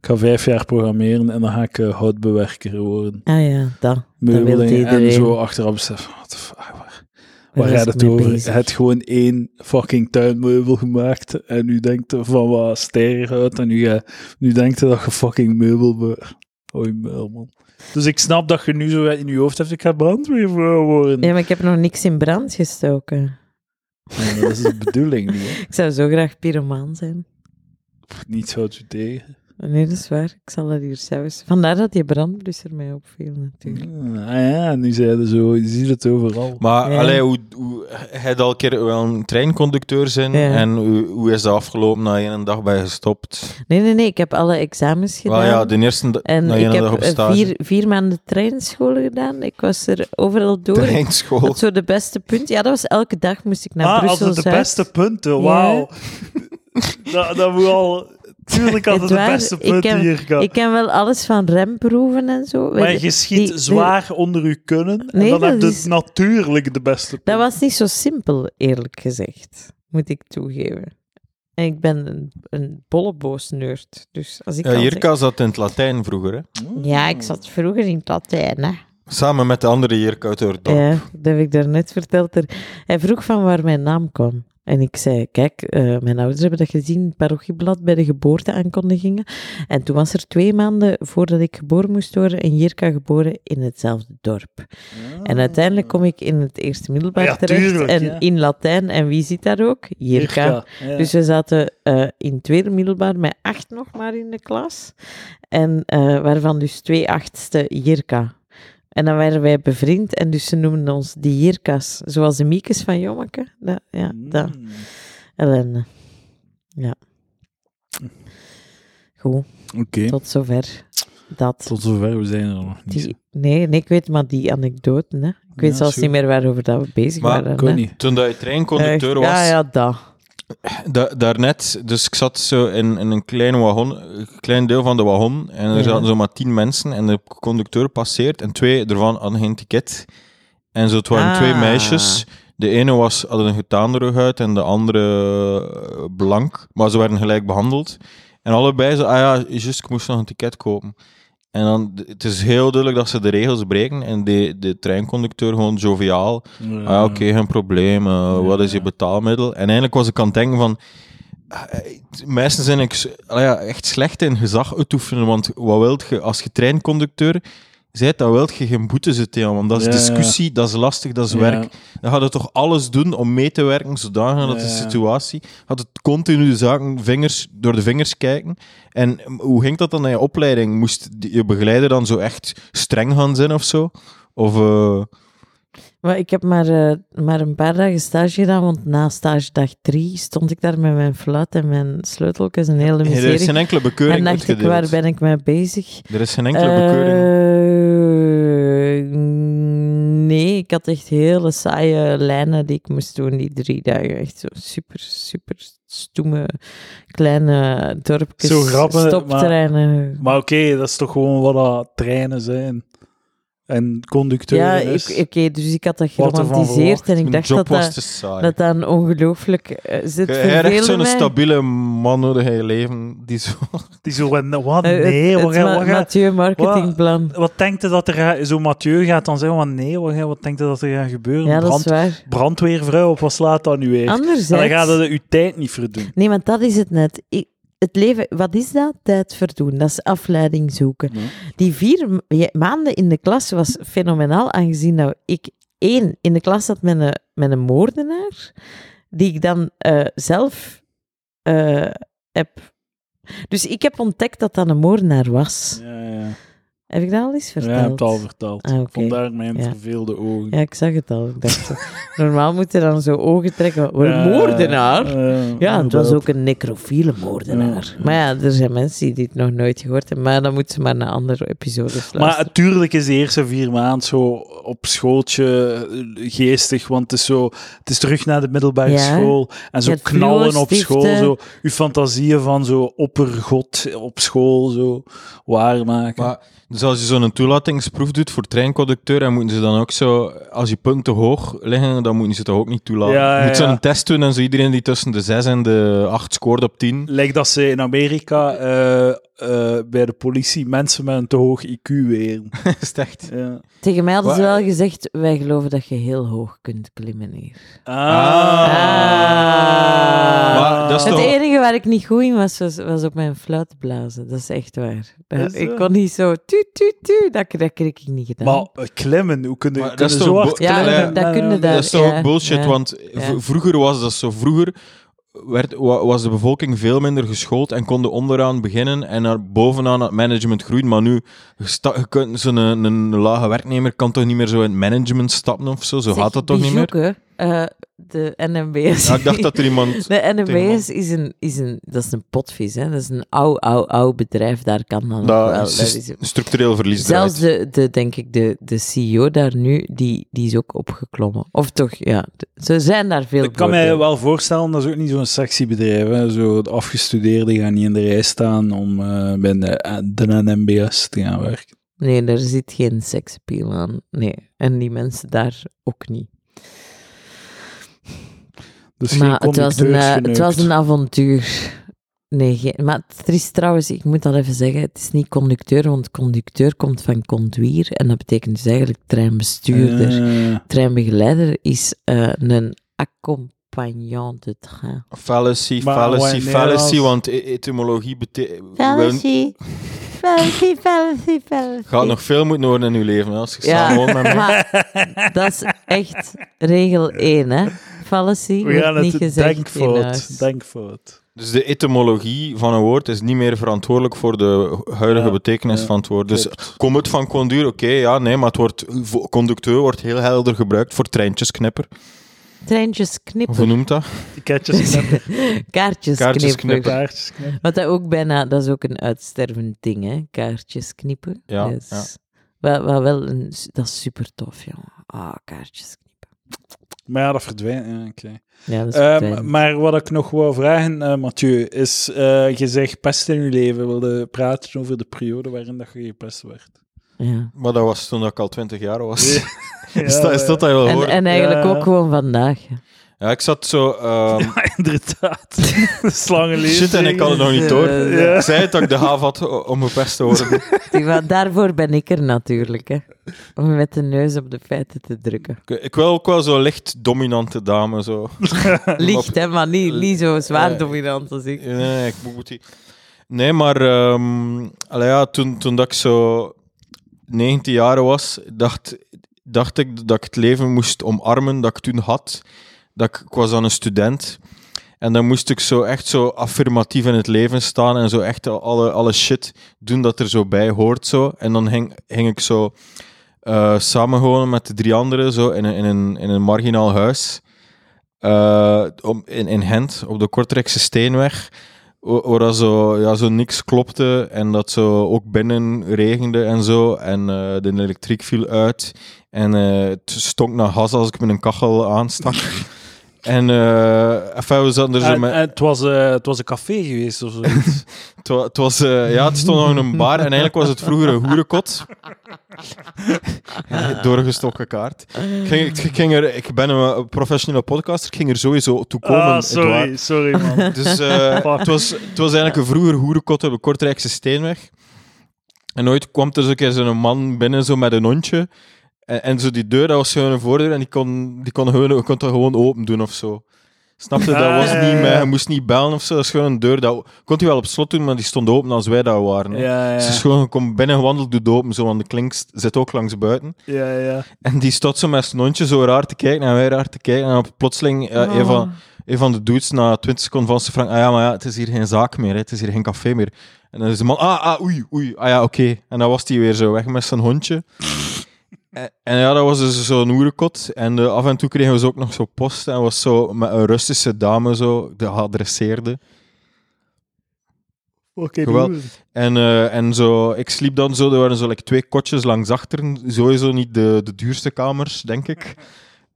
ik ga vijf jaar programmeren en dan ga ik eh, houtbewerker worden. Ah ja, dat. Dat wil Meubeling en iedereen. zo achteraf beseffen, what the fuck, waar, waar is gaat ik het mee over? bezig? Je hebt gewoon één fucking tuinmeubel gemaakt en nu denkt er van wat sterrenhout en nu, eh, nu denkt er dat je fucking meubel bent. Oei, muil, man. Dus ik snap dat je nu zo in je hoofd hebt, ik ga brandweervrouw worden. Ja, maar ik heb nog niks in brand gestoken. Ja, dat is de bedoeling niet, hè. Ik zou zo graag pyromaan zijn. Niets houdt u tegen. Nee, dat is waar. Ik zal dat hier zelfs... Vandaar dat die brandblusser mij opviel, natuurlijk. Ah ja, nu zeiden zo, je ziet het overal. Maar Ja. allee, hoe, hoe, hij had al een keer wel een treinconducteur zijn Ja. en hoe, hoe is dat afgelopen na één dag bij gestopt? Nee, nee, nee. Ik heb alle examens gedaan. Wel ja, nou, de eerste da- En na ik één dag heb op eh, stage. vier, vier maanden treinscholen gedaan. Ik was er overal door. Ik Treinschool. had zo de beste punt. Ja, dat was elke dag moest ik naar ah, Brussel. altijd de Zuid. beste punten, wauw. *laughs* dat, dat moet al... *laughs* Echt Tuurlijk altijd de waar, beste ik punten heb- hier gaan. Ik ken wel alles van remproeven en zo. Maar Weet- je schiet die- zwaar onder je kunnen en Nee, dan dat heb je is- natuurlijk de beste punten. Dat was niet zo simpel, eerlijk gezegd. Moet ik toegeven. En ik ben een, een bolleboos nerd. Dus als ik Ja, al Jirka zat in het Latijn vroeger, hè? Hm? zeg- Ja, ik zat vroeger in het Latijn, hè. Samen met de andere Jirka uit Oordorp. Ja, dat heb ik daarnet verteld. Er- Hij vroeg van waar mijn naam kwam. En ik zei, kijk, eh, mijn ouders hebben dat gezien in het parochieblad bij de geboorteaankondigingen. En toen was er twee maanden voordat ik geboren moest worden en Jirka geboren in hetzelfde dorp. En uiteindelijk kom ik in het eerste middelbaar Oh. Ja, terecht tuurlijk, en ja. in Latijn. En wie zit daar ook? Jirka. Ja. Dus we zaten eh, in het tweede middelbaar met acht nog maar in de klas. En eh, waarvan dus twee achtste Jirka. En dan waren wij bevriend en dus ze noemden ons de Jirkas. Zoals de Miekes van Jommeke. Dat, ja, dat. Mm. Ellende. Ja. Goed, Oké, tot zover. Dat. tot zover, we zijn er nog niet. Die, nee, nee, ik weet maar die anekdote. Hè. Ik weet Ja, zelfs zo. niet meer waarover dat we bezig Maar waren. Ik ook hè. niet. Toen dat je treinconducteur Echt, was, Ja, ja, dat. Da- daarnet, dus ik zat zo in, in een klein, wagon, een klein deel van de wagon en er Ja. zaten zo maar tien mensen en de conducteur passeert en twee ervan hadden geen ticket. En zo, het waren Ah. twee meisjes. De ene was, had een getaandere huid en de andere eh, blank, maar ze werden gelijk behandeld. En allebei zo, ah ja, juist, ik moest nog een ticket kopen. En dan, d- het is heel duidelijk dat ze de regels breken en de, de treinconducteur gewoon joviaal Ah, ja, oké, geen probleem. eh, Wat is je betaalmiddel? En eigenlijk was ik aan het denken van... eh, Mensen zijn ik, ja, echt slecht in gezag uitoefenen, want wat wilt je als je treinconducteur bent, dan wilt je geen boete zitten, want dat is Ja, ja. discussie, dat is lastig, dat is Ja. werk. Dan gaat het toch alles doen om mee te werken, zodanig dat de Ja, ja. situatie gaat het continu de zaken vingers, door de vingers kijken. En mm, hoe ging dat dan in je opleiding? Moest die- je begeleider dan zo echt streng gaan zijn of zo? Of... eh, Maar ik heb maar, eh, maar een paar dagen stage gedaan, want na stage dag drie stond ik daar met mijn fluit en mijn sleuteltjes en hele Nee, er is miserie. geen enkele en bekeuring dacht ik, uitgedeeld. waar ben ik mee bezig? Er is geen enkele bekeuring. Eh, nee, ik had echt hele saaie lijnen die ik moest doen die drie dagen. Echt zo super, super stoeme kleine dorpjes. Zo grappig, maar- Stopterreinen. Maar oké, dat is toch gewoon wat dat treinen zijn. En conducteuren ja, ik- is. oké, dus ik had dat Wat ervan geromantiseerd en ik Mijn dacht job dat was dat, te saai. dat dat een ongelooflijk... eh, zit Je hebt echt verveelde zo'n mij. stabiele man nodig in je leven. Die zo... Die zo, en- wat? Eh, het- Nee, het wat, ga- ma- wat, ga- Mathieu marketingplan. wat denkt je dat er gaat... Zo Mathieu gaat dan zeggen, van nee, wat, ga- wat denkt je dat er gaat gebeuren? Ja, dat is Brand, waar. brandweervrouw, op wat slaat dat nu weer? En dan Anderzijds... gaat het je tijd niet verdoen. Nee, want dat is het net. Ik- het leven, wat is dat? Tijd verdoen. Dat is afleiding zoeken. Ja. Die vier m- je- maanden in de klas was fenomenaal, aangezien dat ik één in de klas zat met een, met een moordenaar, die ik dan eh, zelf eh, heb. Dus ik heb ontdekt dat dat een moordenaar was. Ja, ja. Heb ik dat al eens Ja, verteld? je hebt het al verteld. Ah, oké. Vandaar mijn Ja. verveelde ogen. Ja, ik zag het al. Ik dacht, normaal moet je dan zo ogen trekken. Wel, Eh, moordenaar? eh, Ja, het was inderdaad. ook een necrofiele moordenaar. Maar ja, er zijn mensen die dit nog nooit gehoord hebben. Maar dan moeten ze maar naar andere episodes Maar luisteren. natuurlijk is de eerste vier maanden zo op schooltje eh, geestig, want het is, zo, het is terug naar de middelbare Ja. school. En zo Met knallen op school, fluo-stiften. zo uw fantasieën van zo oppergod op school zo waarmaken. Maar, dus als je zo'n toelatingsproef doet voor treinconducteur, dan moeten ze dan ook zo, als je punten hoog liggen, dan moeten ze dat ook niet toelaten. Ja, je moet ja, zo'n ja. test doen en zo iedereen die tussen de 6 en de 8 scoort op 10. Lijkt dat ze in Amerika eh, eh, bij de politie mensen met een te hoog IQ weren. *laughs* Dat is echt. Ja. Tegen mij hadden ze Wa- wel gezegd, wij geloven dat je heel hoog kunt klimmen hier. Ah. Ah. Maar dat is Het toch- enige waar ik niet goed in was, was, was op mijn fluit blazen. Dat is echt waar. Dat- Is ik dat? kon niet zo tu tu tu, dat, dat kreeg ik niet gedaan. Maar eh, klimmen, hoe kun je, Maar kun dat is je toch zo bo- hard ja, klimmen? dat- dat kunnen daar. Dat is toch ja, ook bullshit, ja, want v- vroeger was dat zo. Vroeger werd, wa- was de bevolking veel minder geschoold en konden onderaan beginnen en naar bovenaan het management groeien. Maar nu, je sta- je kunt zo'n een, een lage werknemer kan toch niet meer zo in het management stappen of zo? Zo Zeg, gaat dat die toch niet meer? zoeken, eh, de NMBS. Ja, ik dacht dat er *laughs* iemand... De Tegen NMBS is een, is een, dat is een potvis, hè. dat is een oud, oud, oud bedrijf, daar kan dan ook dat wel. is dat is- structureel verlies Zelfs draait. de, de, denk ik, de, de CEO daar nu, die, die is ook opgeklommen. Of toch, ja, d- ze zijn daar veel Ik kan mij wel voorstellen, dat is ook niet zo'n sexy bedrijf. Hè. Zo, de afgestudeerden gaan niet in de rij staan om eh, bij de, de NMBS te gaan werken. Nee, daar zit geen seksappeal aan. Nee, en die mensen daar ook niet. Dus maar het was, een, eh, het was een conducteursgeneukt. avontuur. Nee, geen- maar het is trouwens, ik moet dat even zeggen, het is niet conducteur, want conducteur komt van conduir en dat betekent dus eigenlijk treinbestuurder. Ah. Eh, Treinbegeleider is eh, een accompagnant de train. Fallacy, Maar fallacy, wanneer fallacy, als- want e- etymologie betekent... Fallacy, fallacy, fallacy. Gaat nog veel moeten worden in uw leven, hè, als je Ja. samen woont *laughs* met mij. Maar dat is echt regel 1, hè. Fallacy we gaan wordt niet het gezegd in huis. denkfout. denkfout. Dus de etymologie van een woord is niet meer verantwoordelijk voor de huidige Ja, betekenis ja, van het woord. Dus klopt. komt het van conduur? Oké, ja, nee, maar het woord vo- conducteur wordt heel helder gebruikt voor treintjesknipper. Treintjes Of Hoe knippen. noemt dat? Tiketjes *laughs* knippen, Kaartjes, Kaartjes knippen. knippen. paardjes knippen. Want dat ook bijna, dat is ook een uitstervend ding, hè? Kaartjes knippen. Ja, Dat is- ja. Wel, wel, wel een, dat is super tof, jongen. Ah, kaartjes knippen. Maar ja, dat verdwijnt. ja, oké. Ja, dat is Ehm, fijn. maar wat ik nog wou vragen, eh, Mathieu, is eh, je zegt pest in je leven. wilde praten over de periode waarin dat je gepest werd. *laughs* Ja. Maar dat was toen dat ik al twintig jaar was. Ja. *laughs* Is, dat, is dat dat je wil En, horen? en eigenlijk Ja. ook gewoon vandaag. hè. Ja, ik zat zo... ehm, *laughs* Ja, inderdaad. *laughs* Slangenleven. shit, en ik had het nog niet door. Ja. Ik zei het dat ik de haaf had o- om gepest *laughs* te worden. Die- Want daarvoor ben ik er natuurlijk, hè. Om met de neus op de feiten te *laughs* drukken. Ik, ik wil ook wel zo licht dominante dame, zo. Licht, hè, maar niet, niet zo zwaar Eh, dominant als ik. Nee, nee, ik moet- moet die... Nee, maar ehm, allee, ja, toen, toen dat ik zo 19 jaar was, dacht, dacht ik dat ik het leven moest omarmen dat ik toen had. Dat ik, ik was dan een student. En dan moest ik zo echt zo affirmatief in het leven staan en zo echt alle, alle shit doen dat er zo bij hoort. Zo. En dan ging, ging ik zo eh samengewoond met de drie anderen zo in, een- in, een, in een marginaal huis. Eh, om, in, in Gent, op de Kortrijkse Steenweg. wa- Waar dat zo, ja, zo niks klopte en dat zo ook binnen regende en zo. En eh, de elektriek viel uit. En eh, het stonk naar gas als ik met een kachel aanstak. en eh enfin, we zaten er zo En- met... en het, was, eh, het was een café geweest of zo. Het wa- Het, was, eh, ja, het stond nog in een bar en eigenlijk was het vroeger een hoerenkot. *laughs* Doorgestoken kaart. Ik, ging, ik, ging er, ik ben een eh, professionele podcaster, ik ging er sowieso toe *laughs* komen. ah, Edouard. sorry, sorry *laughs* man. Dus eh, Fuck. het, was, het was eigenlijk een vroeger hoerenkot op de Kortrijkse Steenweg. En ooit kwam er zo'n keer zo'n man binnen zo met een hondje. En, en zo die deur, dat was gewoon een voordeur en die kon, die kon, gewoon, kon het gewoon open doen of zo. Snap je? Dat Ah, was ja, niet ja, met, ja. je moest niet bellen of zo. Dat is gewoon een deur. Dat kon hij wel op slot doen, maar die stond open als wij daar waren. Ja, hè. ja, Dus het is ja. gewoon, kom binnen gewandeld, doe het open zo, want de klink st- zit ook langs buiten. ja, ja. En die stond zo met zijn hondje zo raar te kijken en wij raar te kijken. En dan plotseling, Oh. Oh. eh, een, van, een van de dudes na 20 seconden van ze vraagt, ah ja, maar ja, het is hier geen zaak meer, hè, het is hier geen café meer. En dan is de man, ah, ah oei, oei, ah ja, oké. En dan was hij weer zo weg met zijn hondje. En, en ja, dat was dus zo'n oerenkot. En eh, af en toe kregen we ze ook nog zo post. En was zo met een Russische dame zo, de geadresseerde. Oké, Geweld- doe. En, eh, en zo, ik sliep dan zo, er waren zo like, twee kotjes langs achteren. Sowieso niet de, de duurste kamers, denk ik.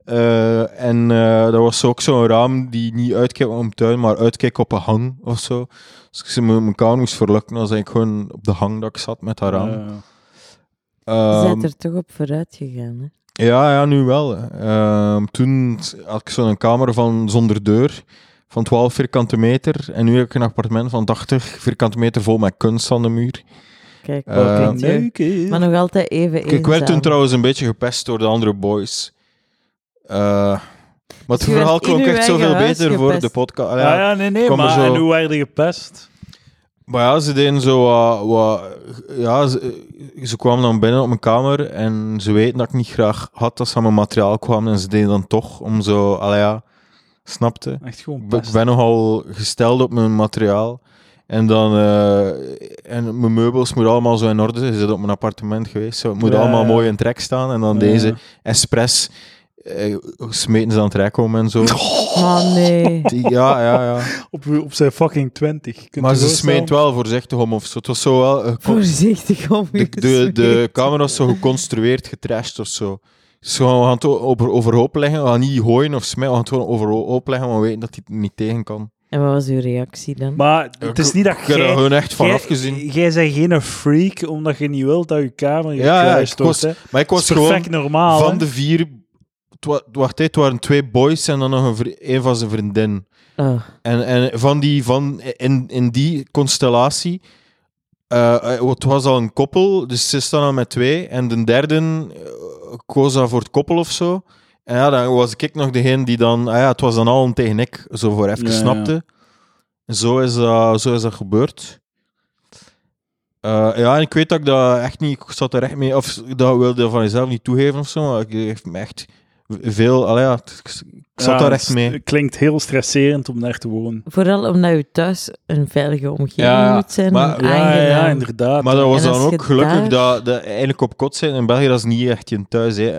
Eh, en eh dat was zo ook zo'n raam die niet uitkijkt op een tuin, maar uitkijkt op een hang of zo. Dus ik ze me- mijn kamer moest verlukken, dan was ik gewoon op de hang dat ik zat met dat raam. Ja. Je Ehm, bent er toch op vooruit gegaan, hè? ja, ja, nu wel. Ehm, toen had ik zo'n kamer van zonder deur, van 12 vierkante meter. En nu heb ik een appartement van 80 vierkante meter vol met kunst aan de muur. Kijk, Eh, wat Wat doet je? een leuke. Maar nog altijd even Ik, ik werd toen eenzaam. trouwens een beetje gepest door de andere boys. Eh, maar je het werd verhaal in klonk uw echt zoveel eigen huis beter voor de gepest. podcast. Ah, Allee, Ja, ja, nee, nee, kom maar maar zo. en hoe werd je gepest? Maar ja, ze deden zo wat... wat- ja, ze, ze kwamen dan binnen op mijn kamer en ze weten dat ik niet graag had dat ze aan mijn materiaal kwamen. En ze deden dan toch om zo... Allee, ja, snapte? Echt gewoon Ik pest. ben- ben nogal gesteld op mijn materiaal. En dan... eh, en mijn meubels moeten allemaal zo in orde zijn. Ze zitten op mijn appartement geweest. Zo, het moet Ja, allemaal ja. mooi in trek staan. En dan Ja. deze... Express eh, smeten ze aan het rek om en *laughs* zo. Dus Oh nee. Die- ja, ja, ja. Op, op zijn fucking 20. Kunt Maar je ze voorstellen? smeet wel voorzichtig om of zo. Het was zo wel... *laughs* eh, con- Voorzichtig om de, de, de camera was zo geconstrueerd, getrashed of zo. Dus gewoon, we gaan het o- over, overhoop leggen. We gaan niet gooien of smijten. We gaan het gewoon overhoop leggen, maar we weten dat hij het niet tegen kan. En wat was uw reactie dan? Maar het is niet dat Ik heb er jij... gewoon echt van jij- afgezien. Jij bent geen freak, omdat je niet wilt dat je kamer Ja, ja, gekruist ik wordt, was, hè. maar ik Het was is perfect gewoon... normaal, Van hè. de vier... het wa- Wacht, het waren twee boys en dan nog een, vri- een van zijn vriendin. Oh, En, en van die, van, in, in die constellatie, eh, eh, het was al een koppel, dus ze staan al met twee. En de derde eh, koos dan voor het koppel of zo. En ja, dan was ik nog degene die dan, ah ja, het was dan al een tegen ik, zo voor even Ja, ja. snapte. En Zo, is dat, zo is dat gebeurd. Eh, ja, en ik weet dat ik dat echt niet, ik zat er echt mee, of dat wilde van jezelf niet toegeven of zo, maar ik heeft me echt veel, allee, ja, ik ik zat Ja, daar het echt mee. s- Klinkt heel stresserend om daar te wonen. vooral omdat je thuis een veilige omgeving Ja, moet zijn. maar- en Ja, aangenaam. ja, inderdaad. Maar dat was En als dan je ook gelukkig daar- dat, dat eigenlijk op kot zijn in België, dat is niet echt je thuis. Hè.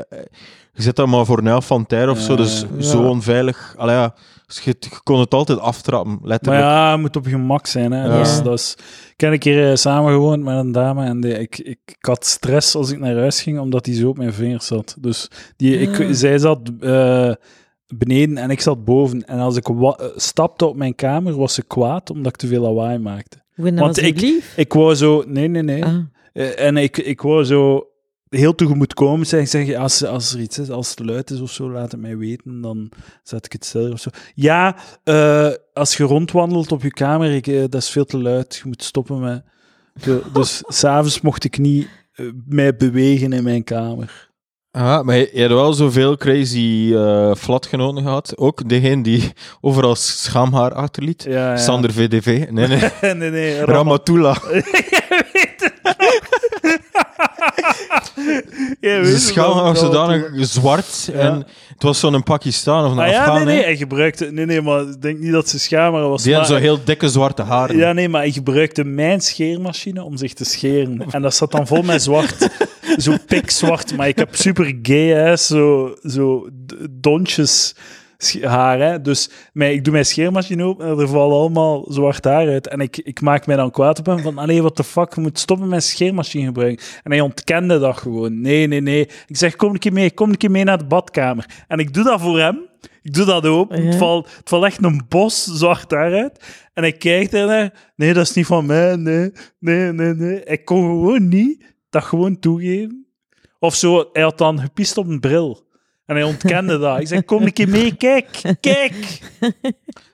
Je zit dan maar voor Nel van Tijl of zo, Ja, dus ja. zo onveilig. Allee, ja, dus je, je kon het altijd aftrappen, Maar letterlijk. ja, het moet op je gemak zijn. Hè. Ja. Dat is, dat is... Ik heb een keer eh, samengewoond met een dame en die- ik, ik, ik had stress als ik naar huis ging, omdat die zo op mijn vingers zat. Dus die, ik, Ah. zij zat eh, beneden en ik zat boven. En als ik wa- eh, stapte op mijn kamer, was ze kwaad omdat ik te veel lawaai maakte. Hoe dan Want was ik... ik- lief? Ik wou zo... Nee, nee, nee. Ah, Eh, En ik, ik wou zo heel tegemoetkomend zijn. Ik zeg, als, als er iets is, als het luid is of zo, laat het mij weten. Dan zet ik het stil of zo. Ja, eh, als je rondwandelt op je kamer, ik, eh, dat is veel te luid. Je moet stoppen met... De- *laughs* dus s'avonds mocht ik niet eh, mij bewegen in mijn kamer. Ja, maar je, je had wel zoveel crazy eh flatgenoten gehad. Ook degene die overal schaamhaar achterliet. Ja, ja. Sander VDV. *laughs* Nee, nee. *laughs* nee, nee. Ram- Ramatula. Jij weet het. Jij weet Ze het wel, schaamhaar was wel. zodanig zwart. En het was zo'n Pakistan of een Ah ja, Afghaan. nee, nee, hè. hij gebruikte... Nee, nee, maar ik denk niet dat ze schaamhaar was. Die maar- had zo heel dikke zwarte haren. Ja, nee, maar hij gebruikte mijn scheermachine om zich te scheren. En dat zat dan vol met zwart. zo pikzwart, maar ik heb super gay, hè, zo, zo d- donsjes sch- haar. Hè. Dus mij, ik doe mijn scheermachine open en er valt allemaal zwart haar uit. En ik, ik maak mij dan kwaad op hem van, allee, wat de fuck, je moet stoppen met scheermachine gebruiken. En hij ontkende dat gewoon. Nee, nee, nee. Ik zeg, kom een keer mee, kom een keer mee naar de badkamer. En ik doe dat voor hem. Ik doe dat open. Ja. Het, valt, het valt echt een bos zwart haar uit. En ik kijk ernaar. Nee, dat is niet van mij. Nee, nee, nee, nee. Ik kon gewoon niet dat gewoon toegeven. Of zo, hij had dan gepiest op een bril. En hij ontkende dat. Ik zei, kom een keer mee, kijk, kijk.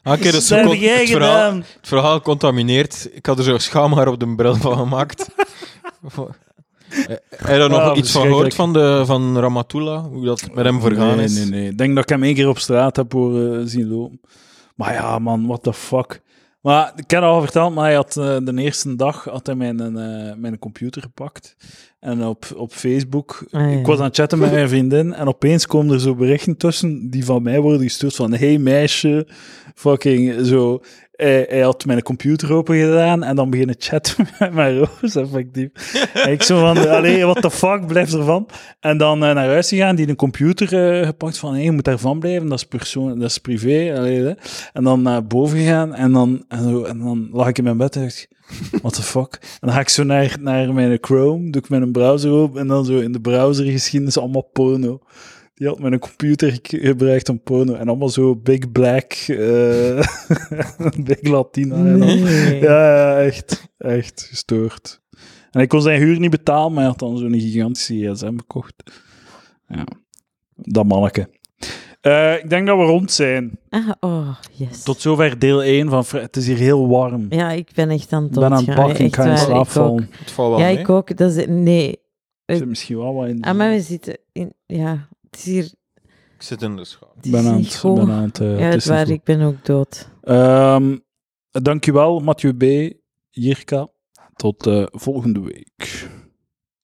Ah, oké, dat is Dat zo heb con- jij het, verhaal, gedaan. het verhaal contamineert. Ik had er zo schaamhaar op de bril van gemaakt. Eh, Heb je daar nog Ah, iets van gehoord van, de, van Ramatullah? Hoe dat met hem vergaan nee, is? Nee, nee, Ik denk dat ik hem één keer op straat heb horen zien lopen. Maar ja, man, what the fuck. Maar ik heb het al verteld, maar hij had, eh, de eerste dag had hij mijn, eh, mijn computer gepakt. En op, op Facebook, Ah, ja. ik was aan het chatten met mijn vriendin en opeens komen er zo berichten tussen die van mij worden gestuurd van hey meisje, fucking zo. Hij, hij had mijn computer open gedaan en dan beginnen chatten *laughs* met mijn roos, effectief. En ik zo van, allee, what the fuck, blijf ervan. En dan eh, naar huis gegaan, die een computer eh, gepakt van, hé, je moet daarvan blijven, dat is, persoon, dat is privé. allee, hè. En dan naar boven gegaan en dan, en, zo, en dan lag ik in mijn bed en dacht ik, what the fuck. En dan ga ik zo naar, naar mijn Chrome, doe ik mijn browser open en dan zo in de browsergeschiedenis allemaal porno. Die had mijn computer ge- gebruikt om porno. En allemaal zo big black, eh, *laughs* big Latina. en dan- Nee. ja, ja, echt. Echt gestoord. En hij kon zijn huur niet betalen, maar hij had dan zo'n gigantische gsm gekocht. Ja. Dat manneke. Eh, ik denk dat we rond zijn. Ah, oh, yes. Tot zover deel 1 van... Fre- Het is hier heel warm. Ja, ik ben echt aan het ik ben aan het doodgaan. pakken, ik Echt kan in waar, slaap ik ook. vallen. Het valt wel Ja, mee. ik ook. Dat is, nee. Er zit misschien wel wat in. Ah, maar we zitten in... Ja, het is hier... Ik zit in de schaam. Het Ik is ben aan niet het... goed. ben aan het, eh, ja, het het is niet waar, goed. ik ben ook dood. Ehm, dankjewel, Mathieu B., Jirka. Tot eh, volgende week.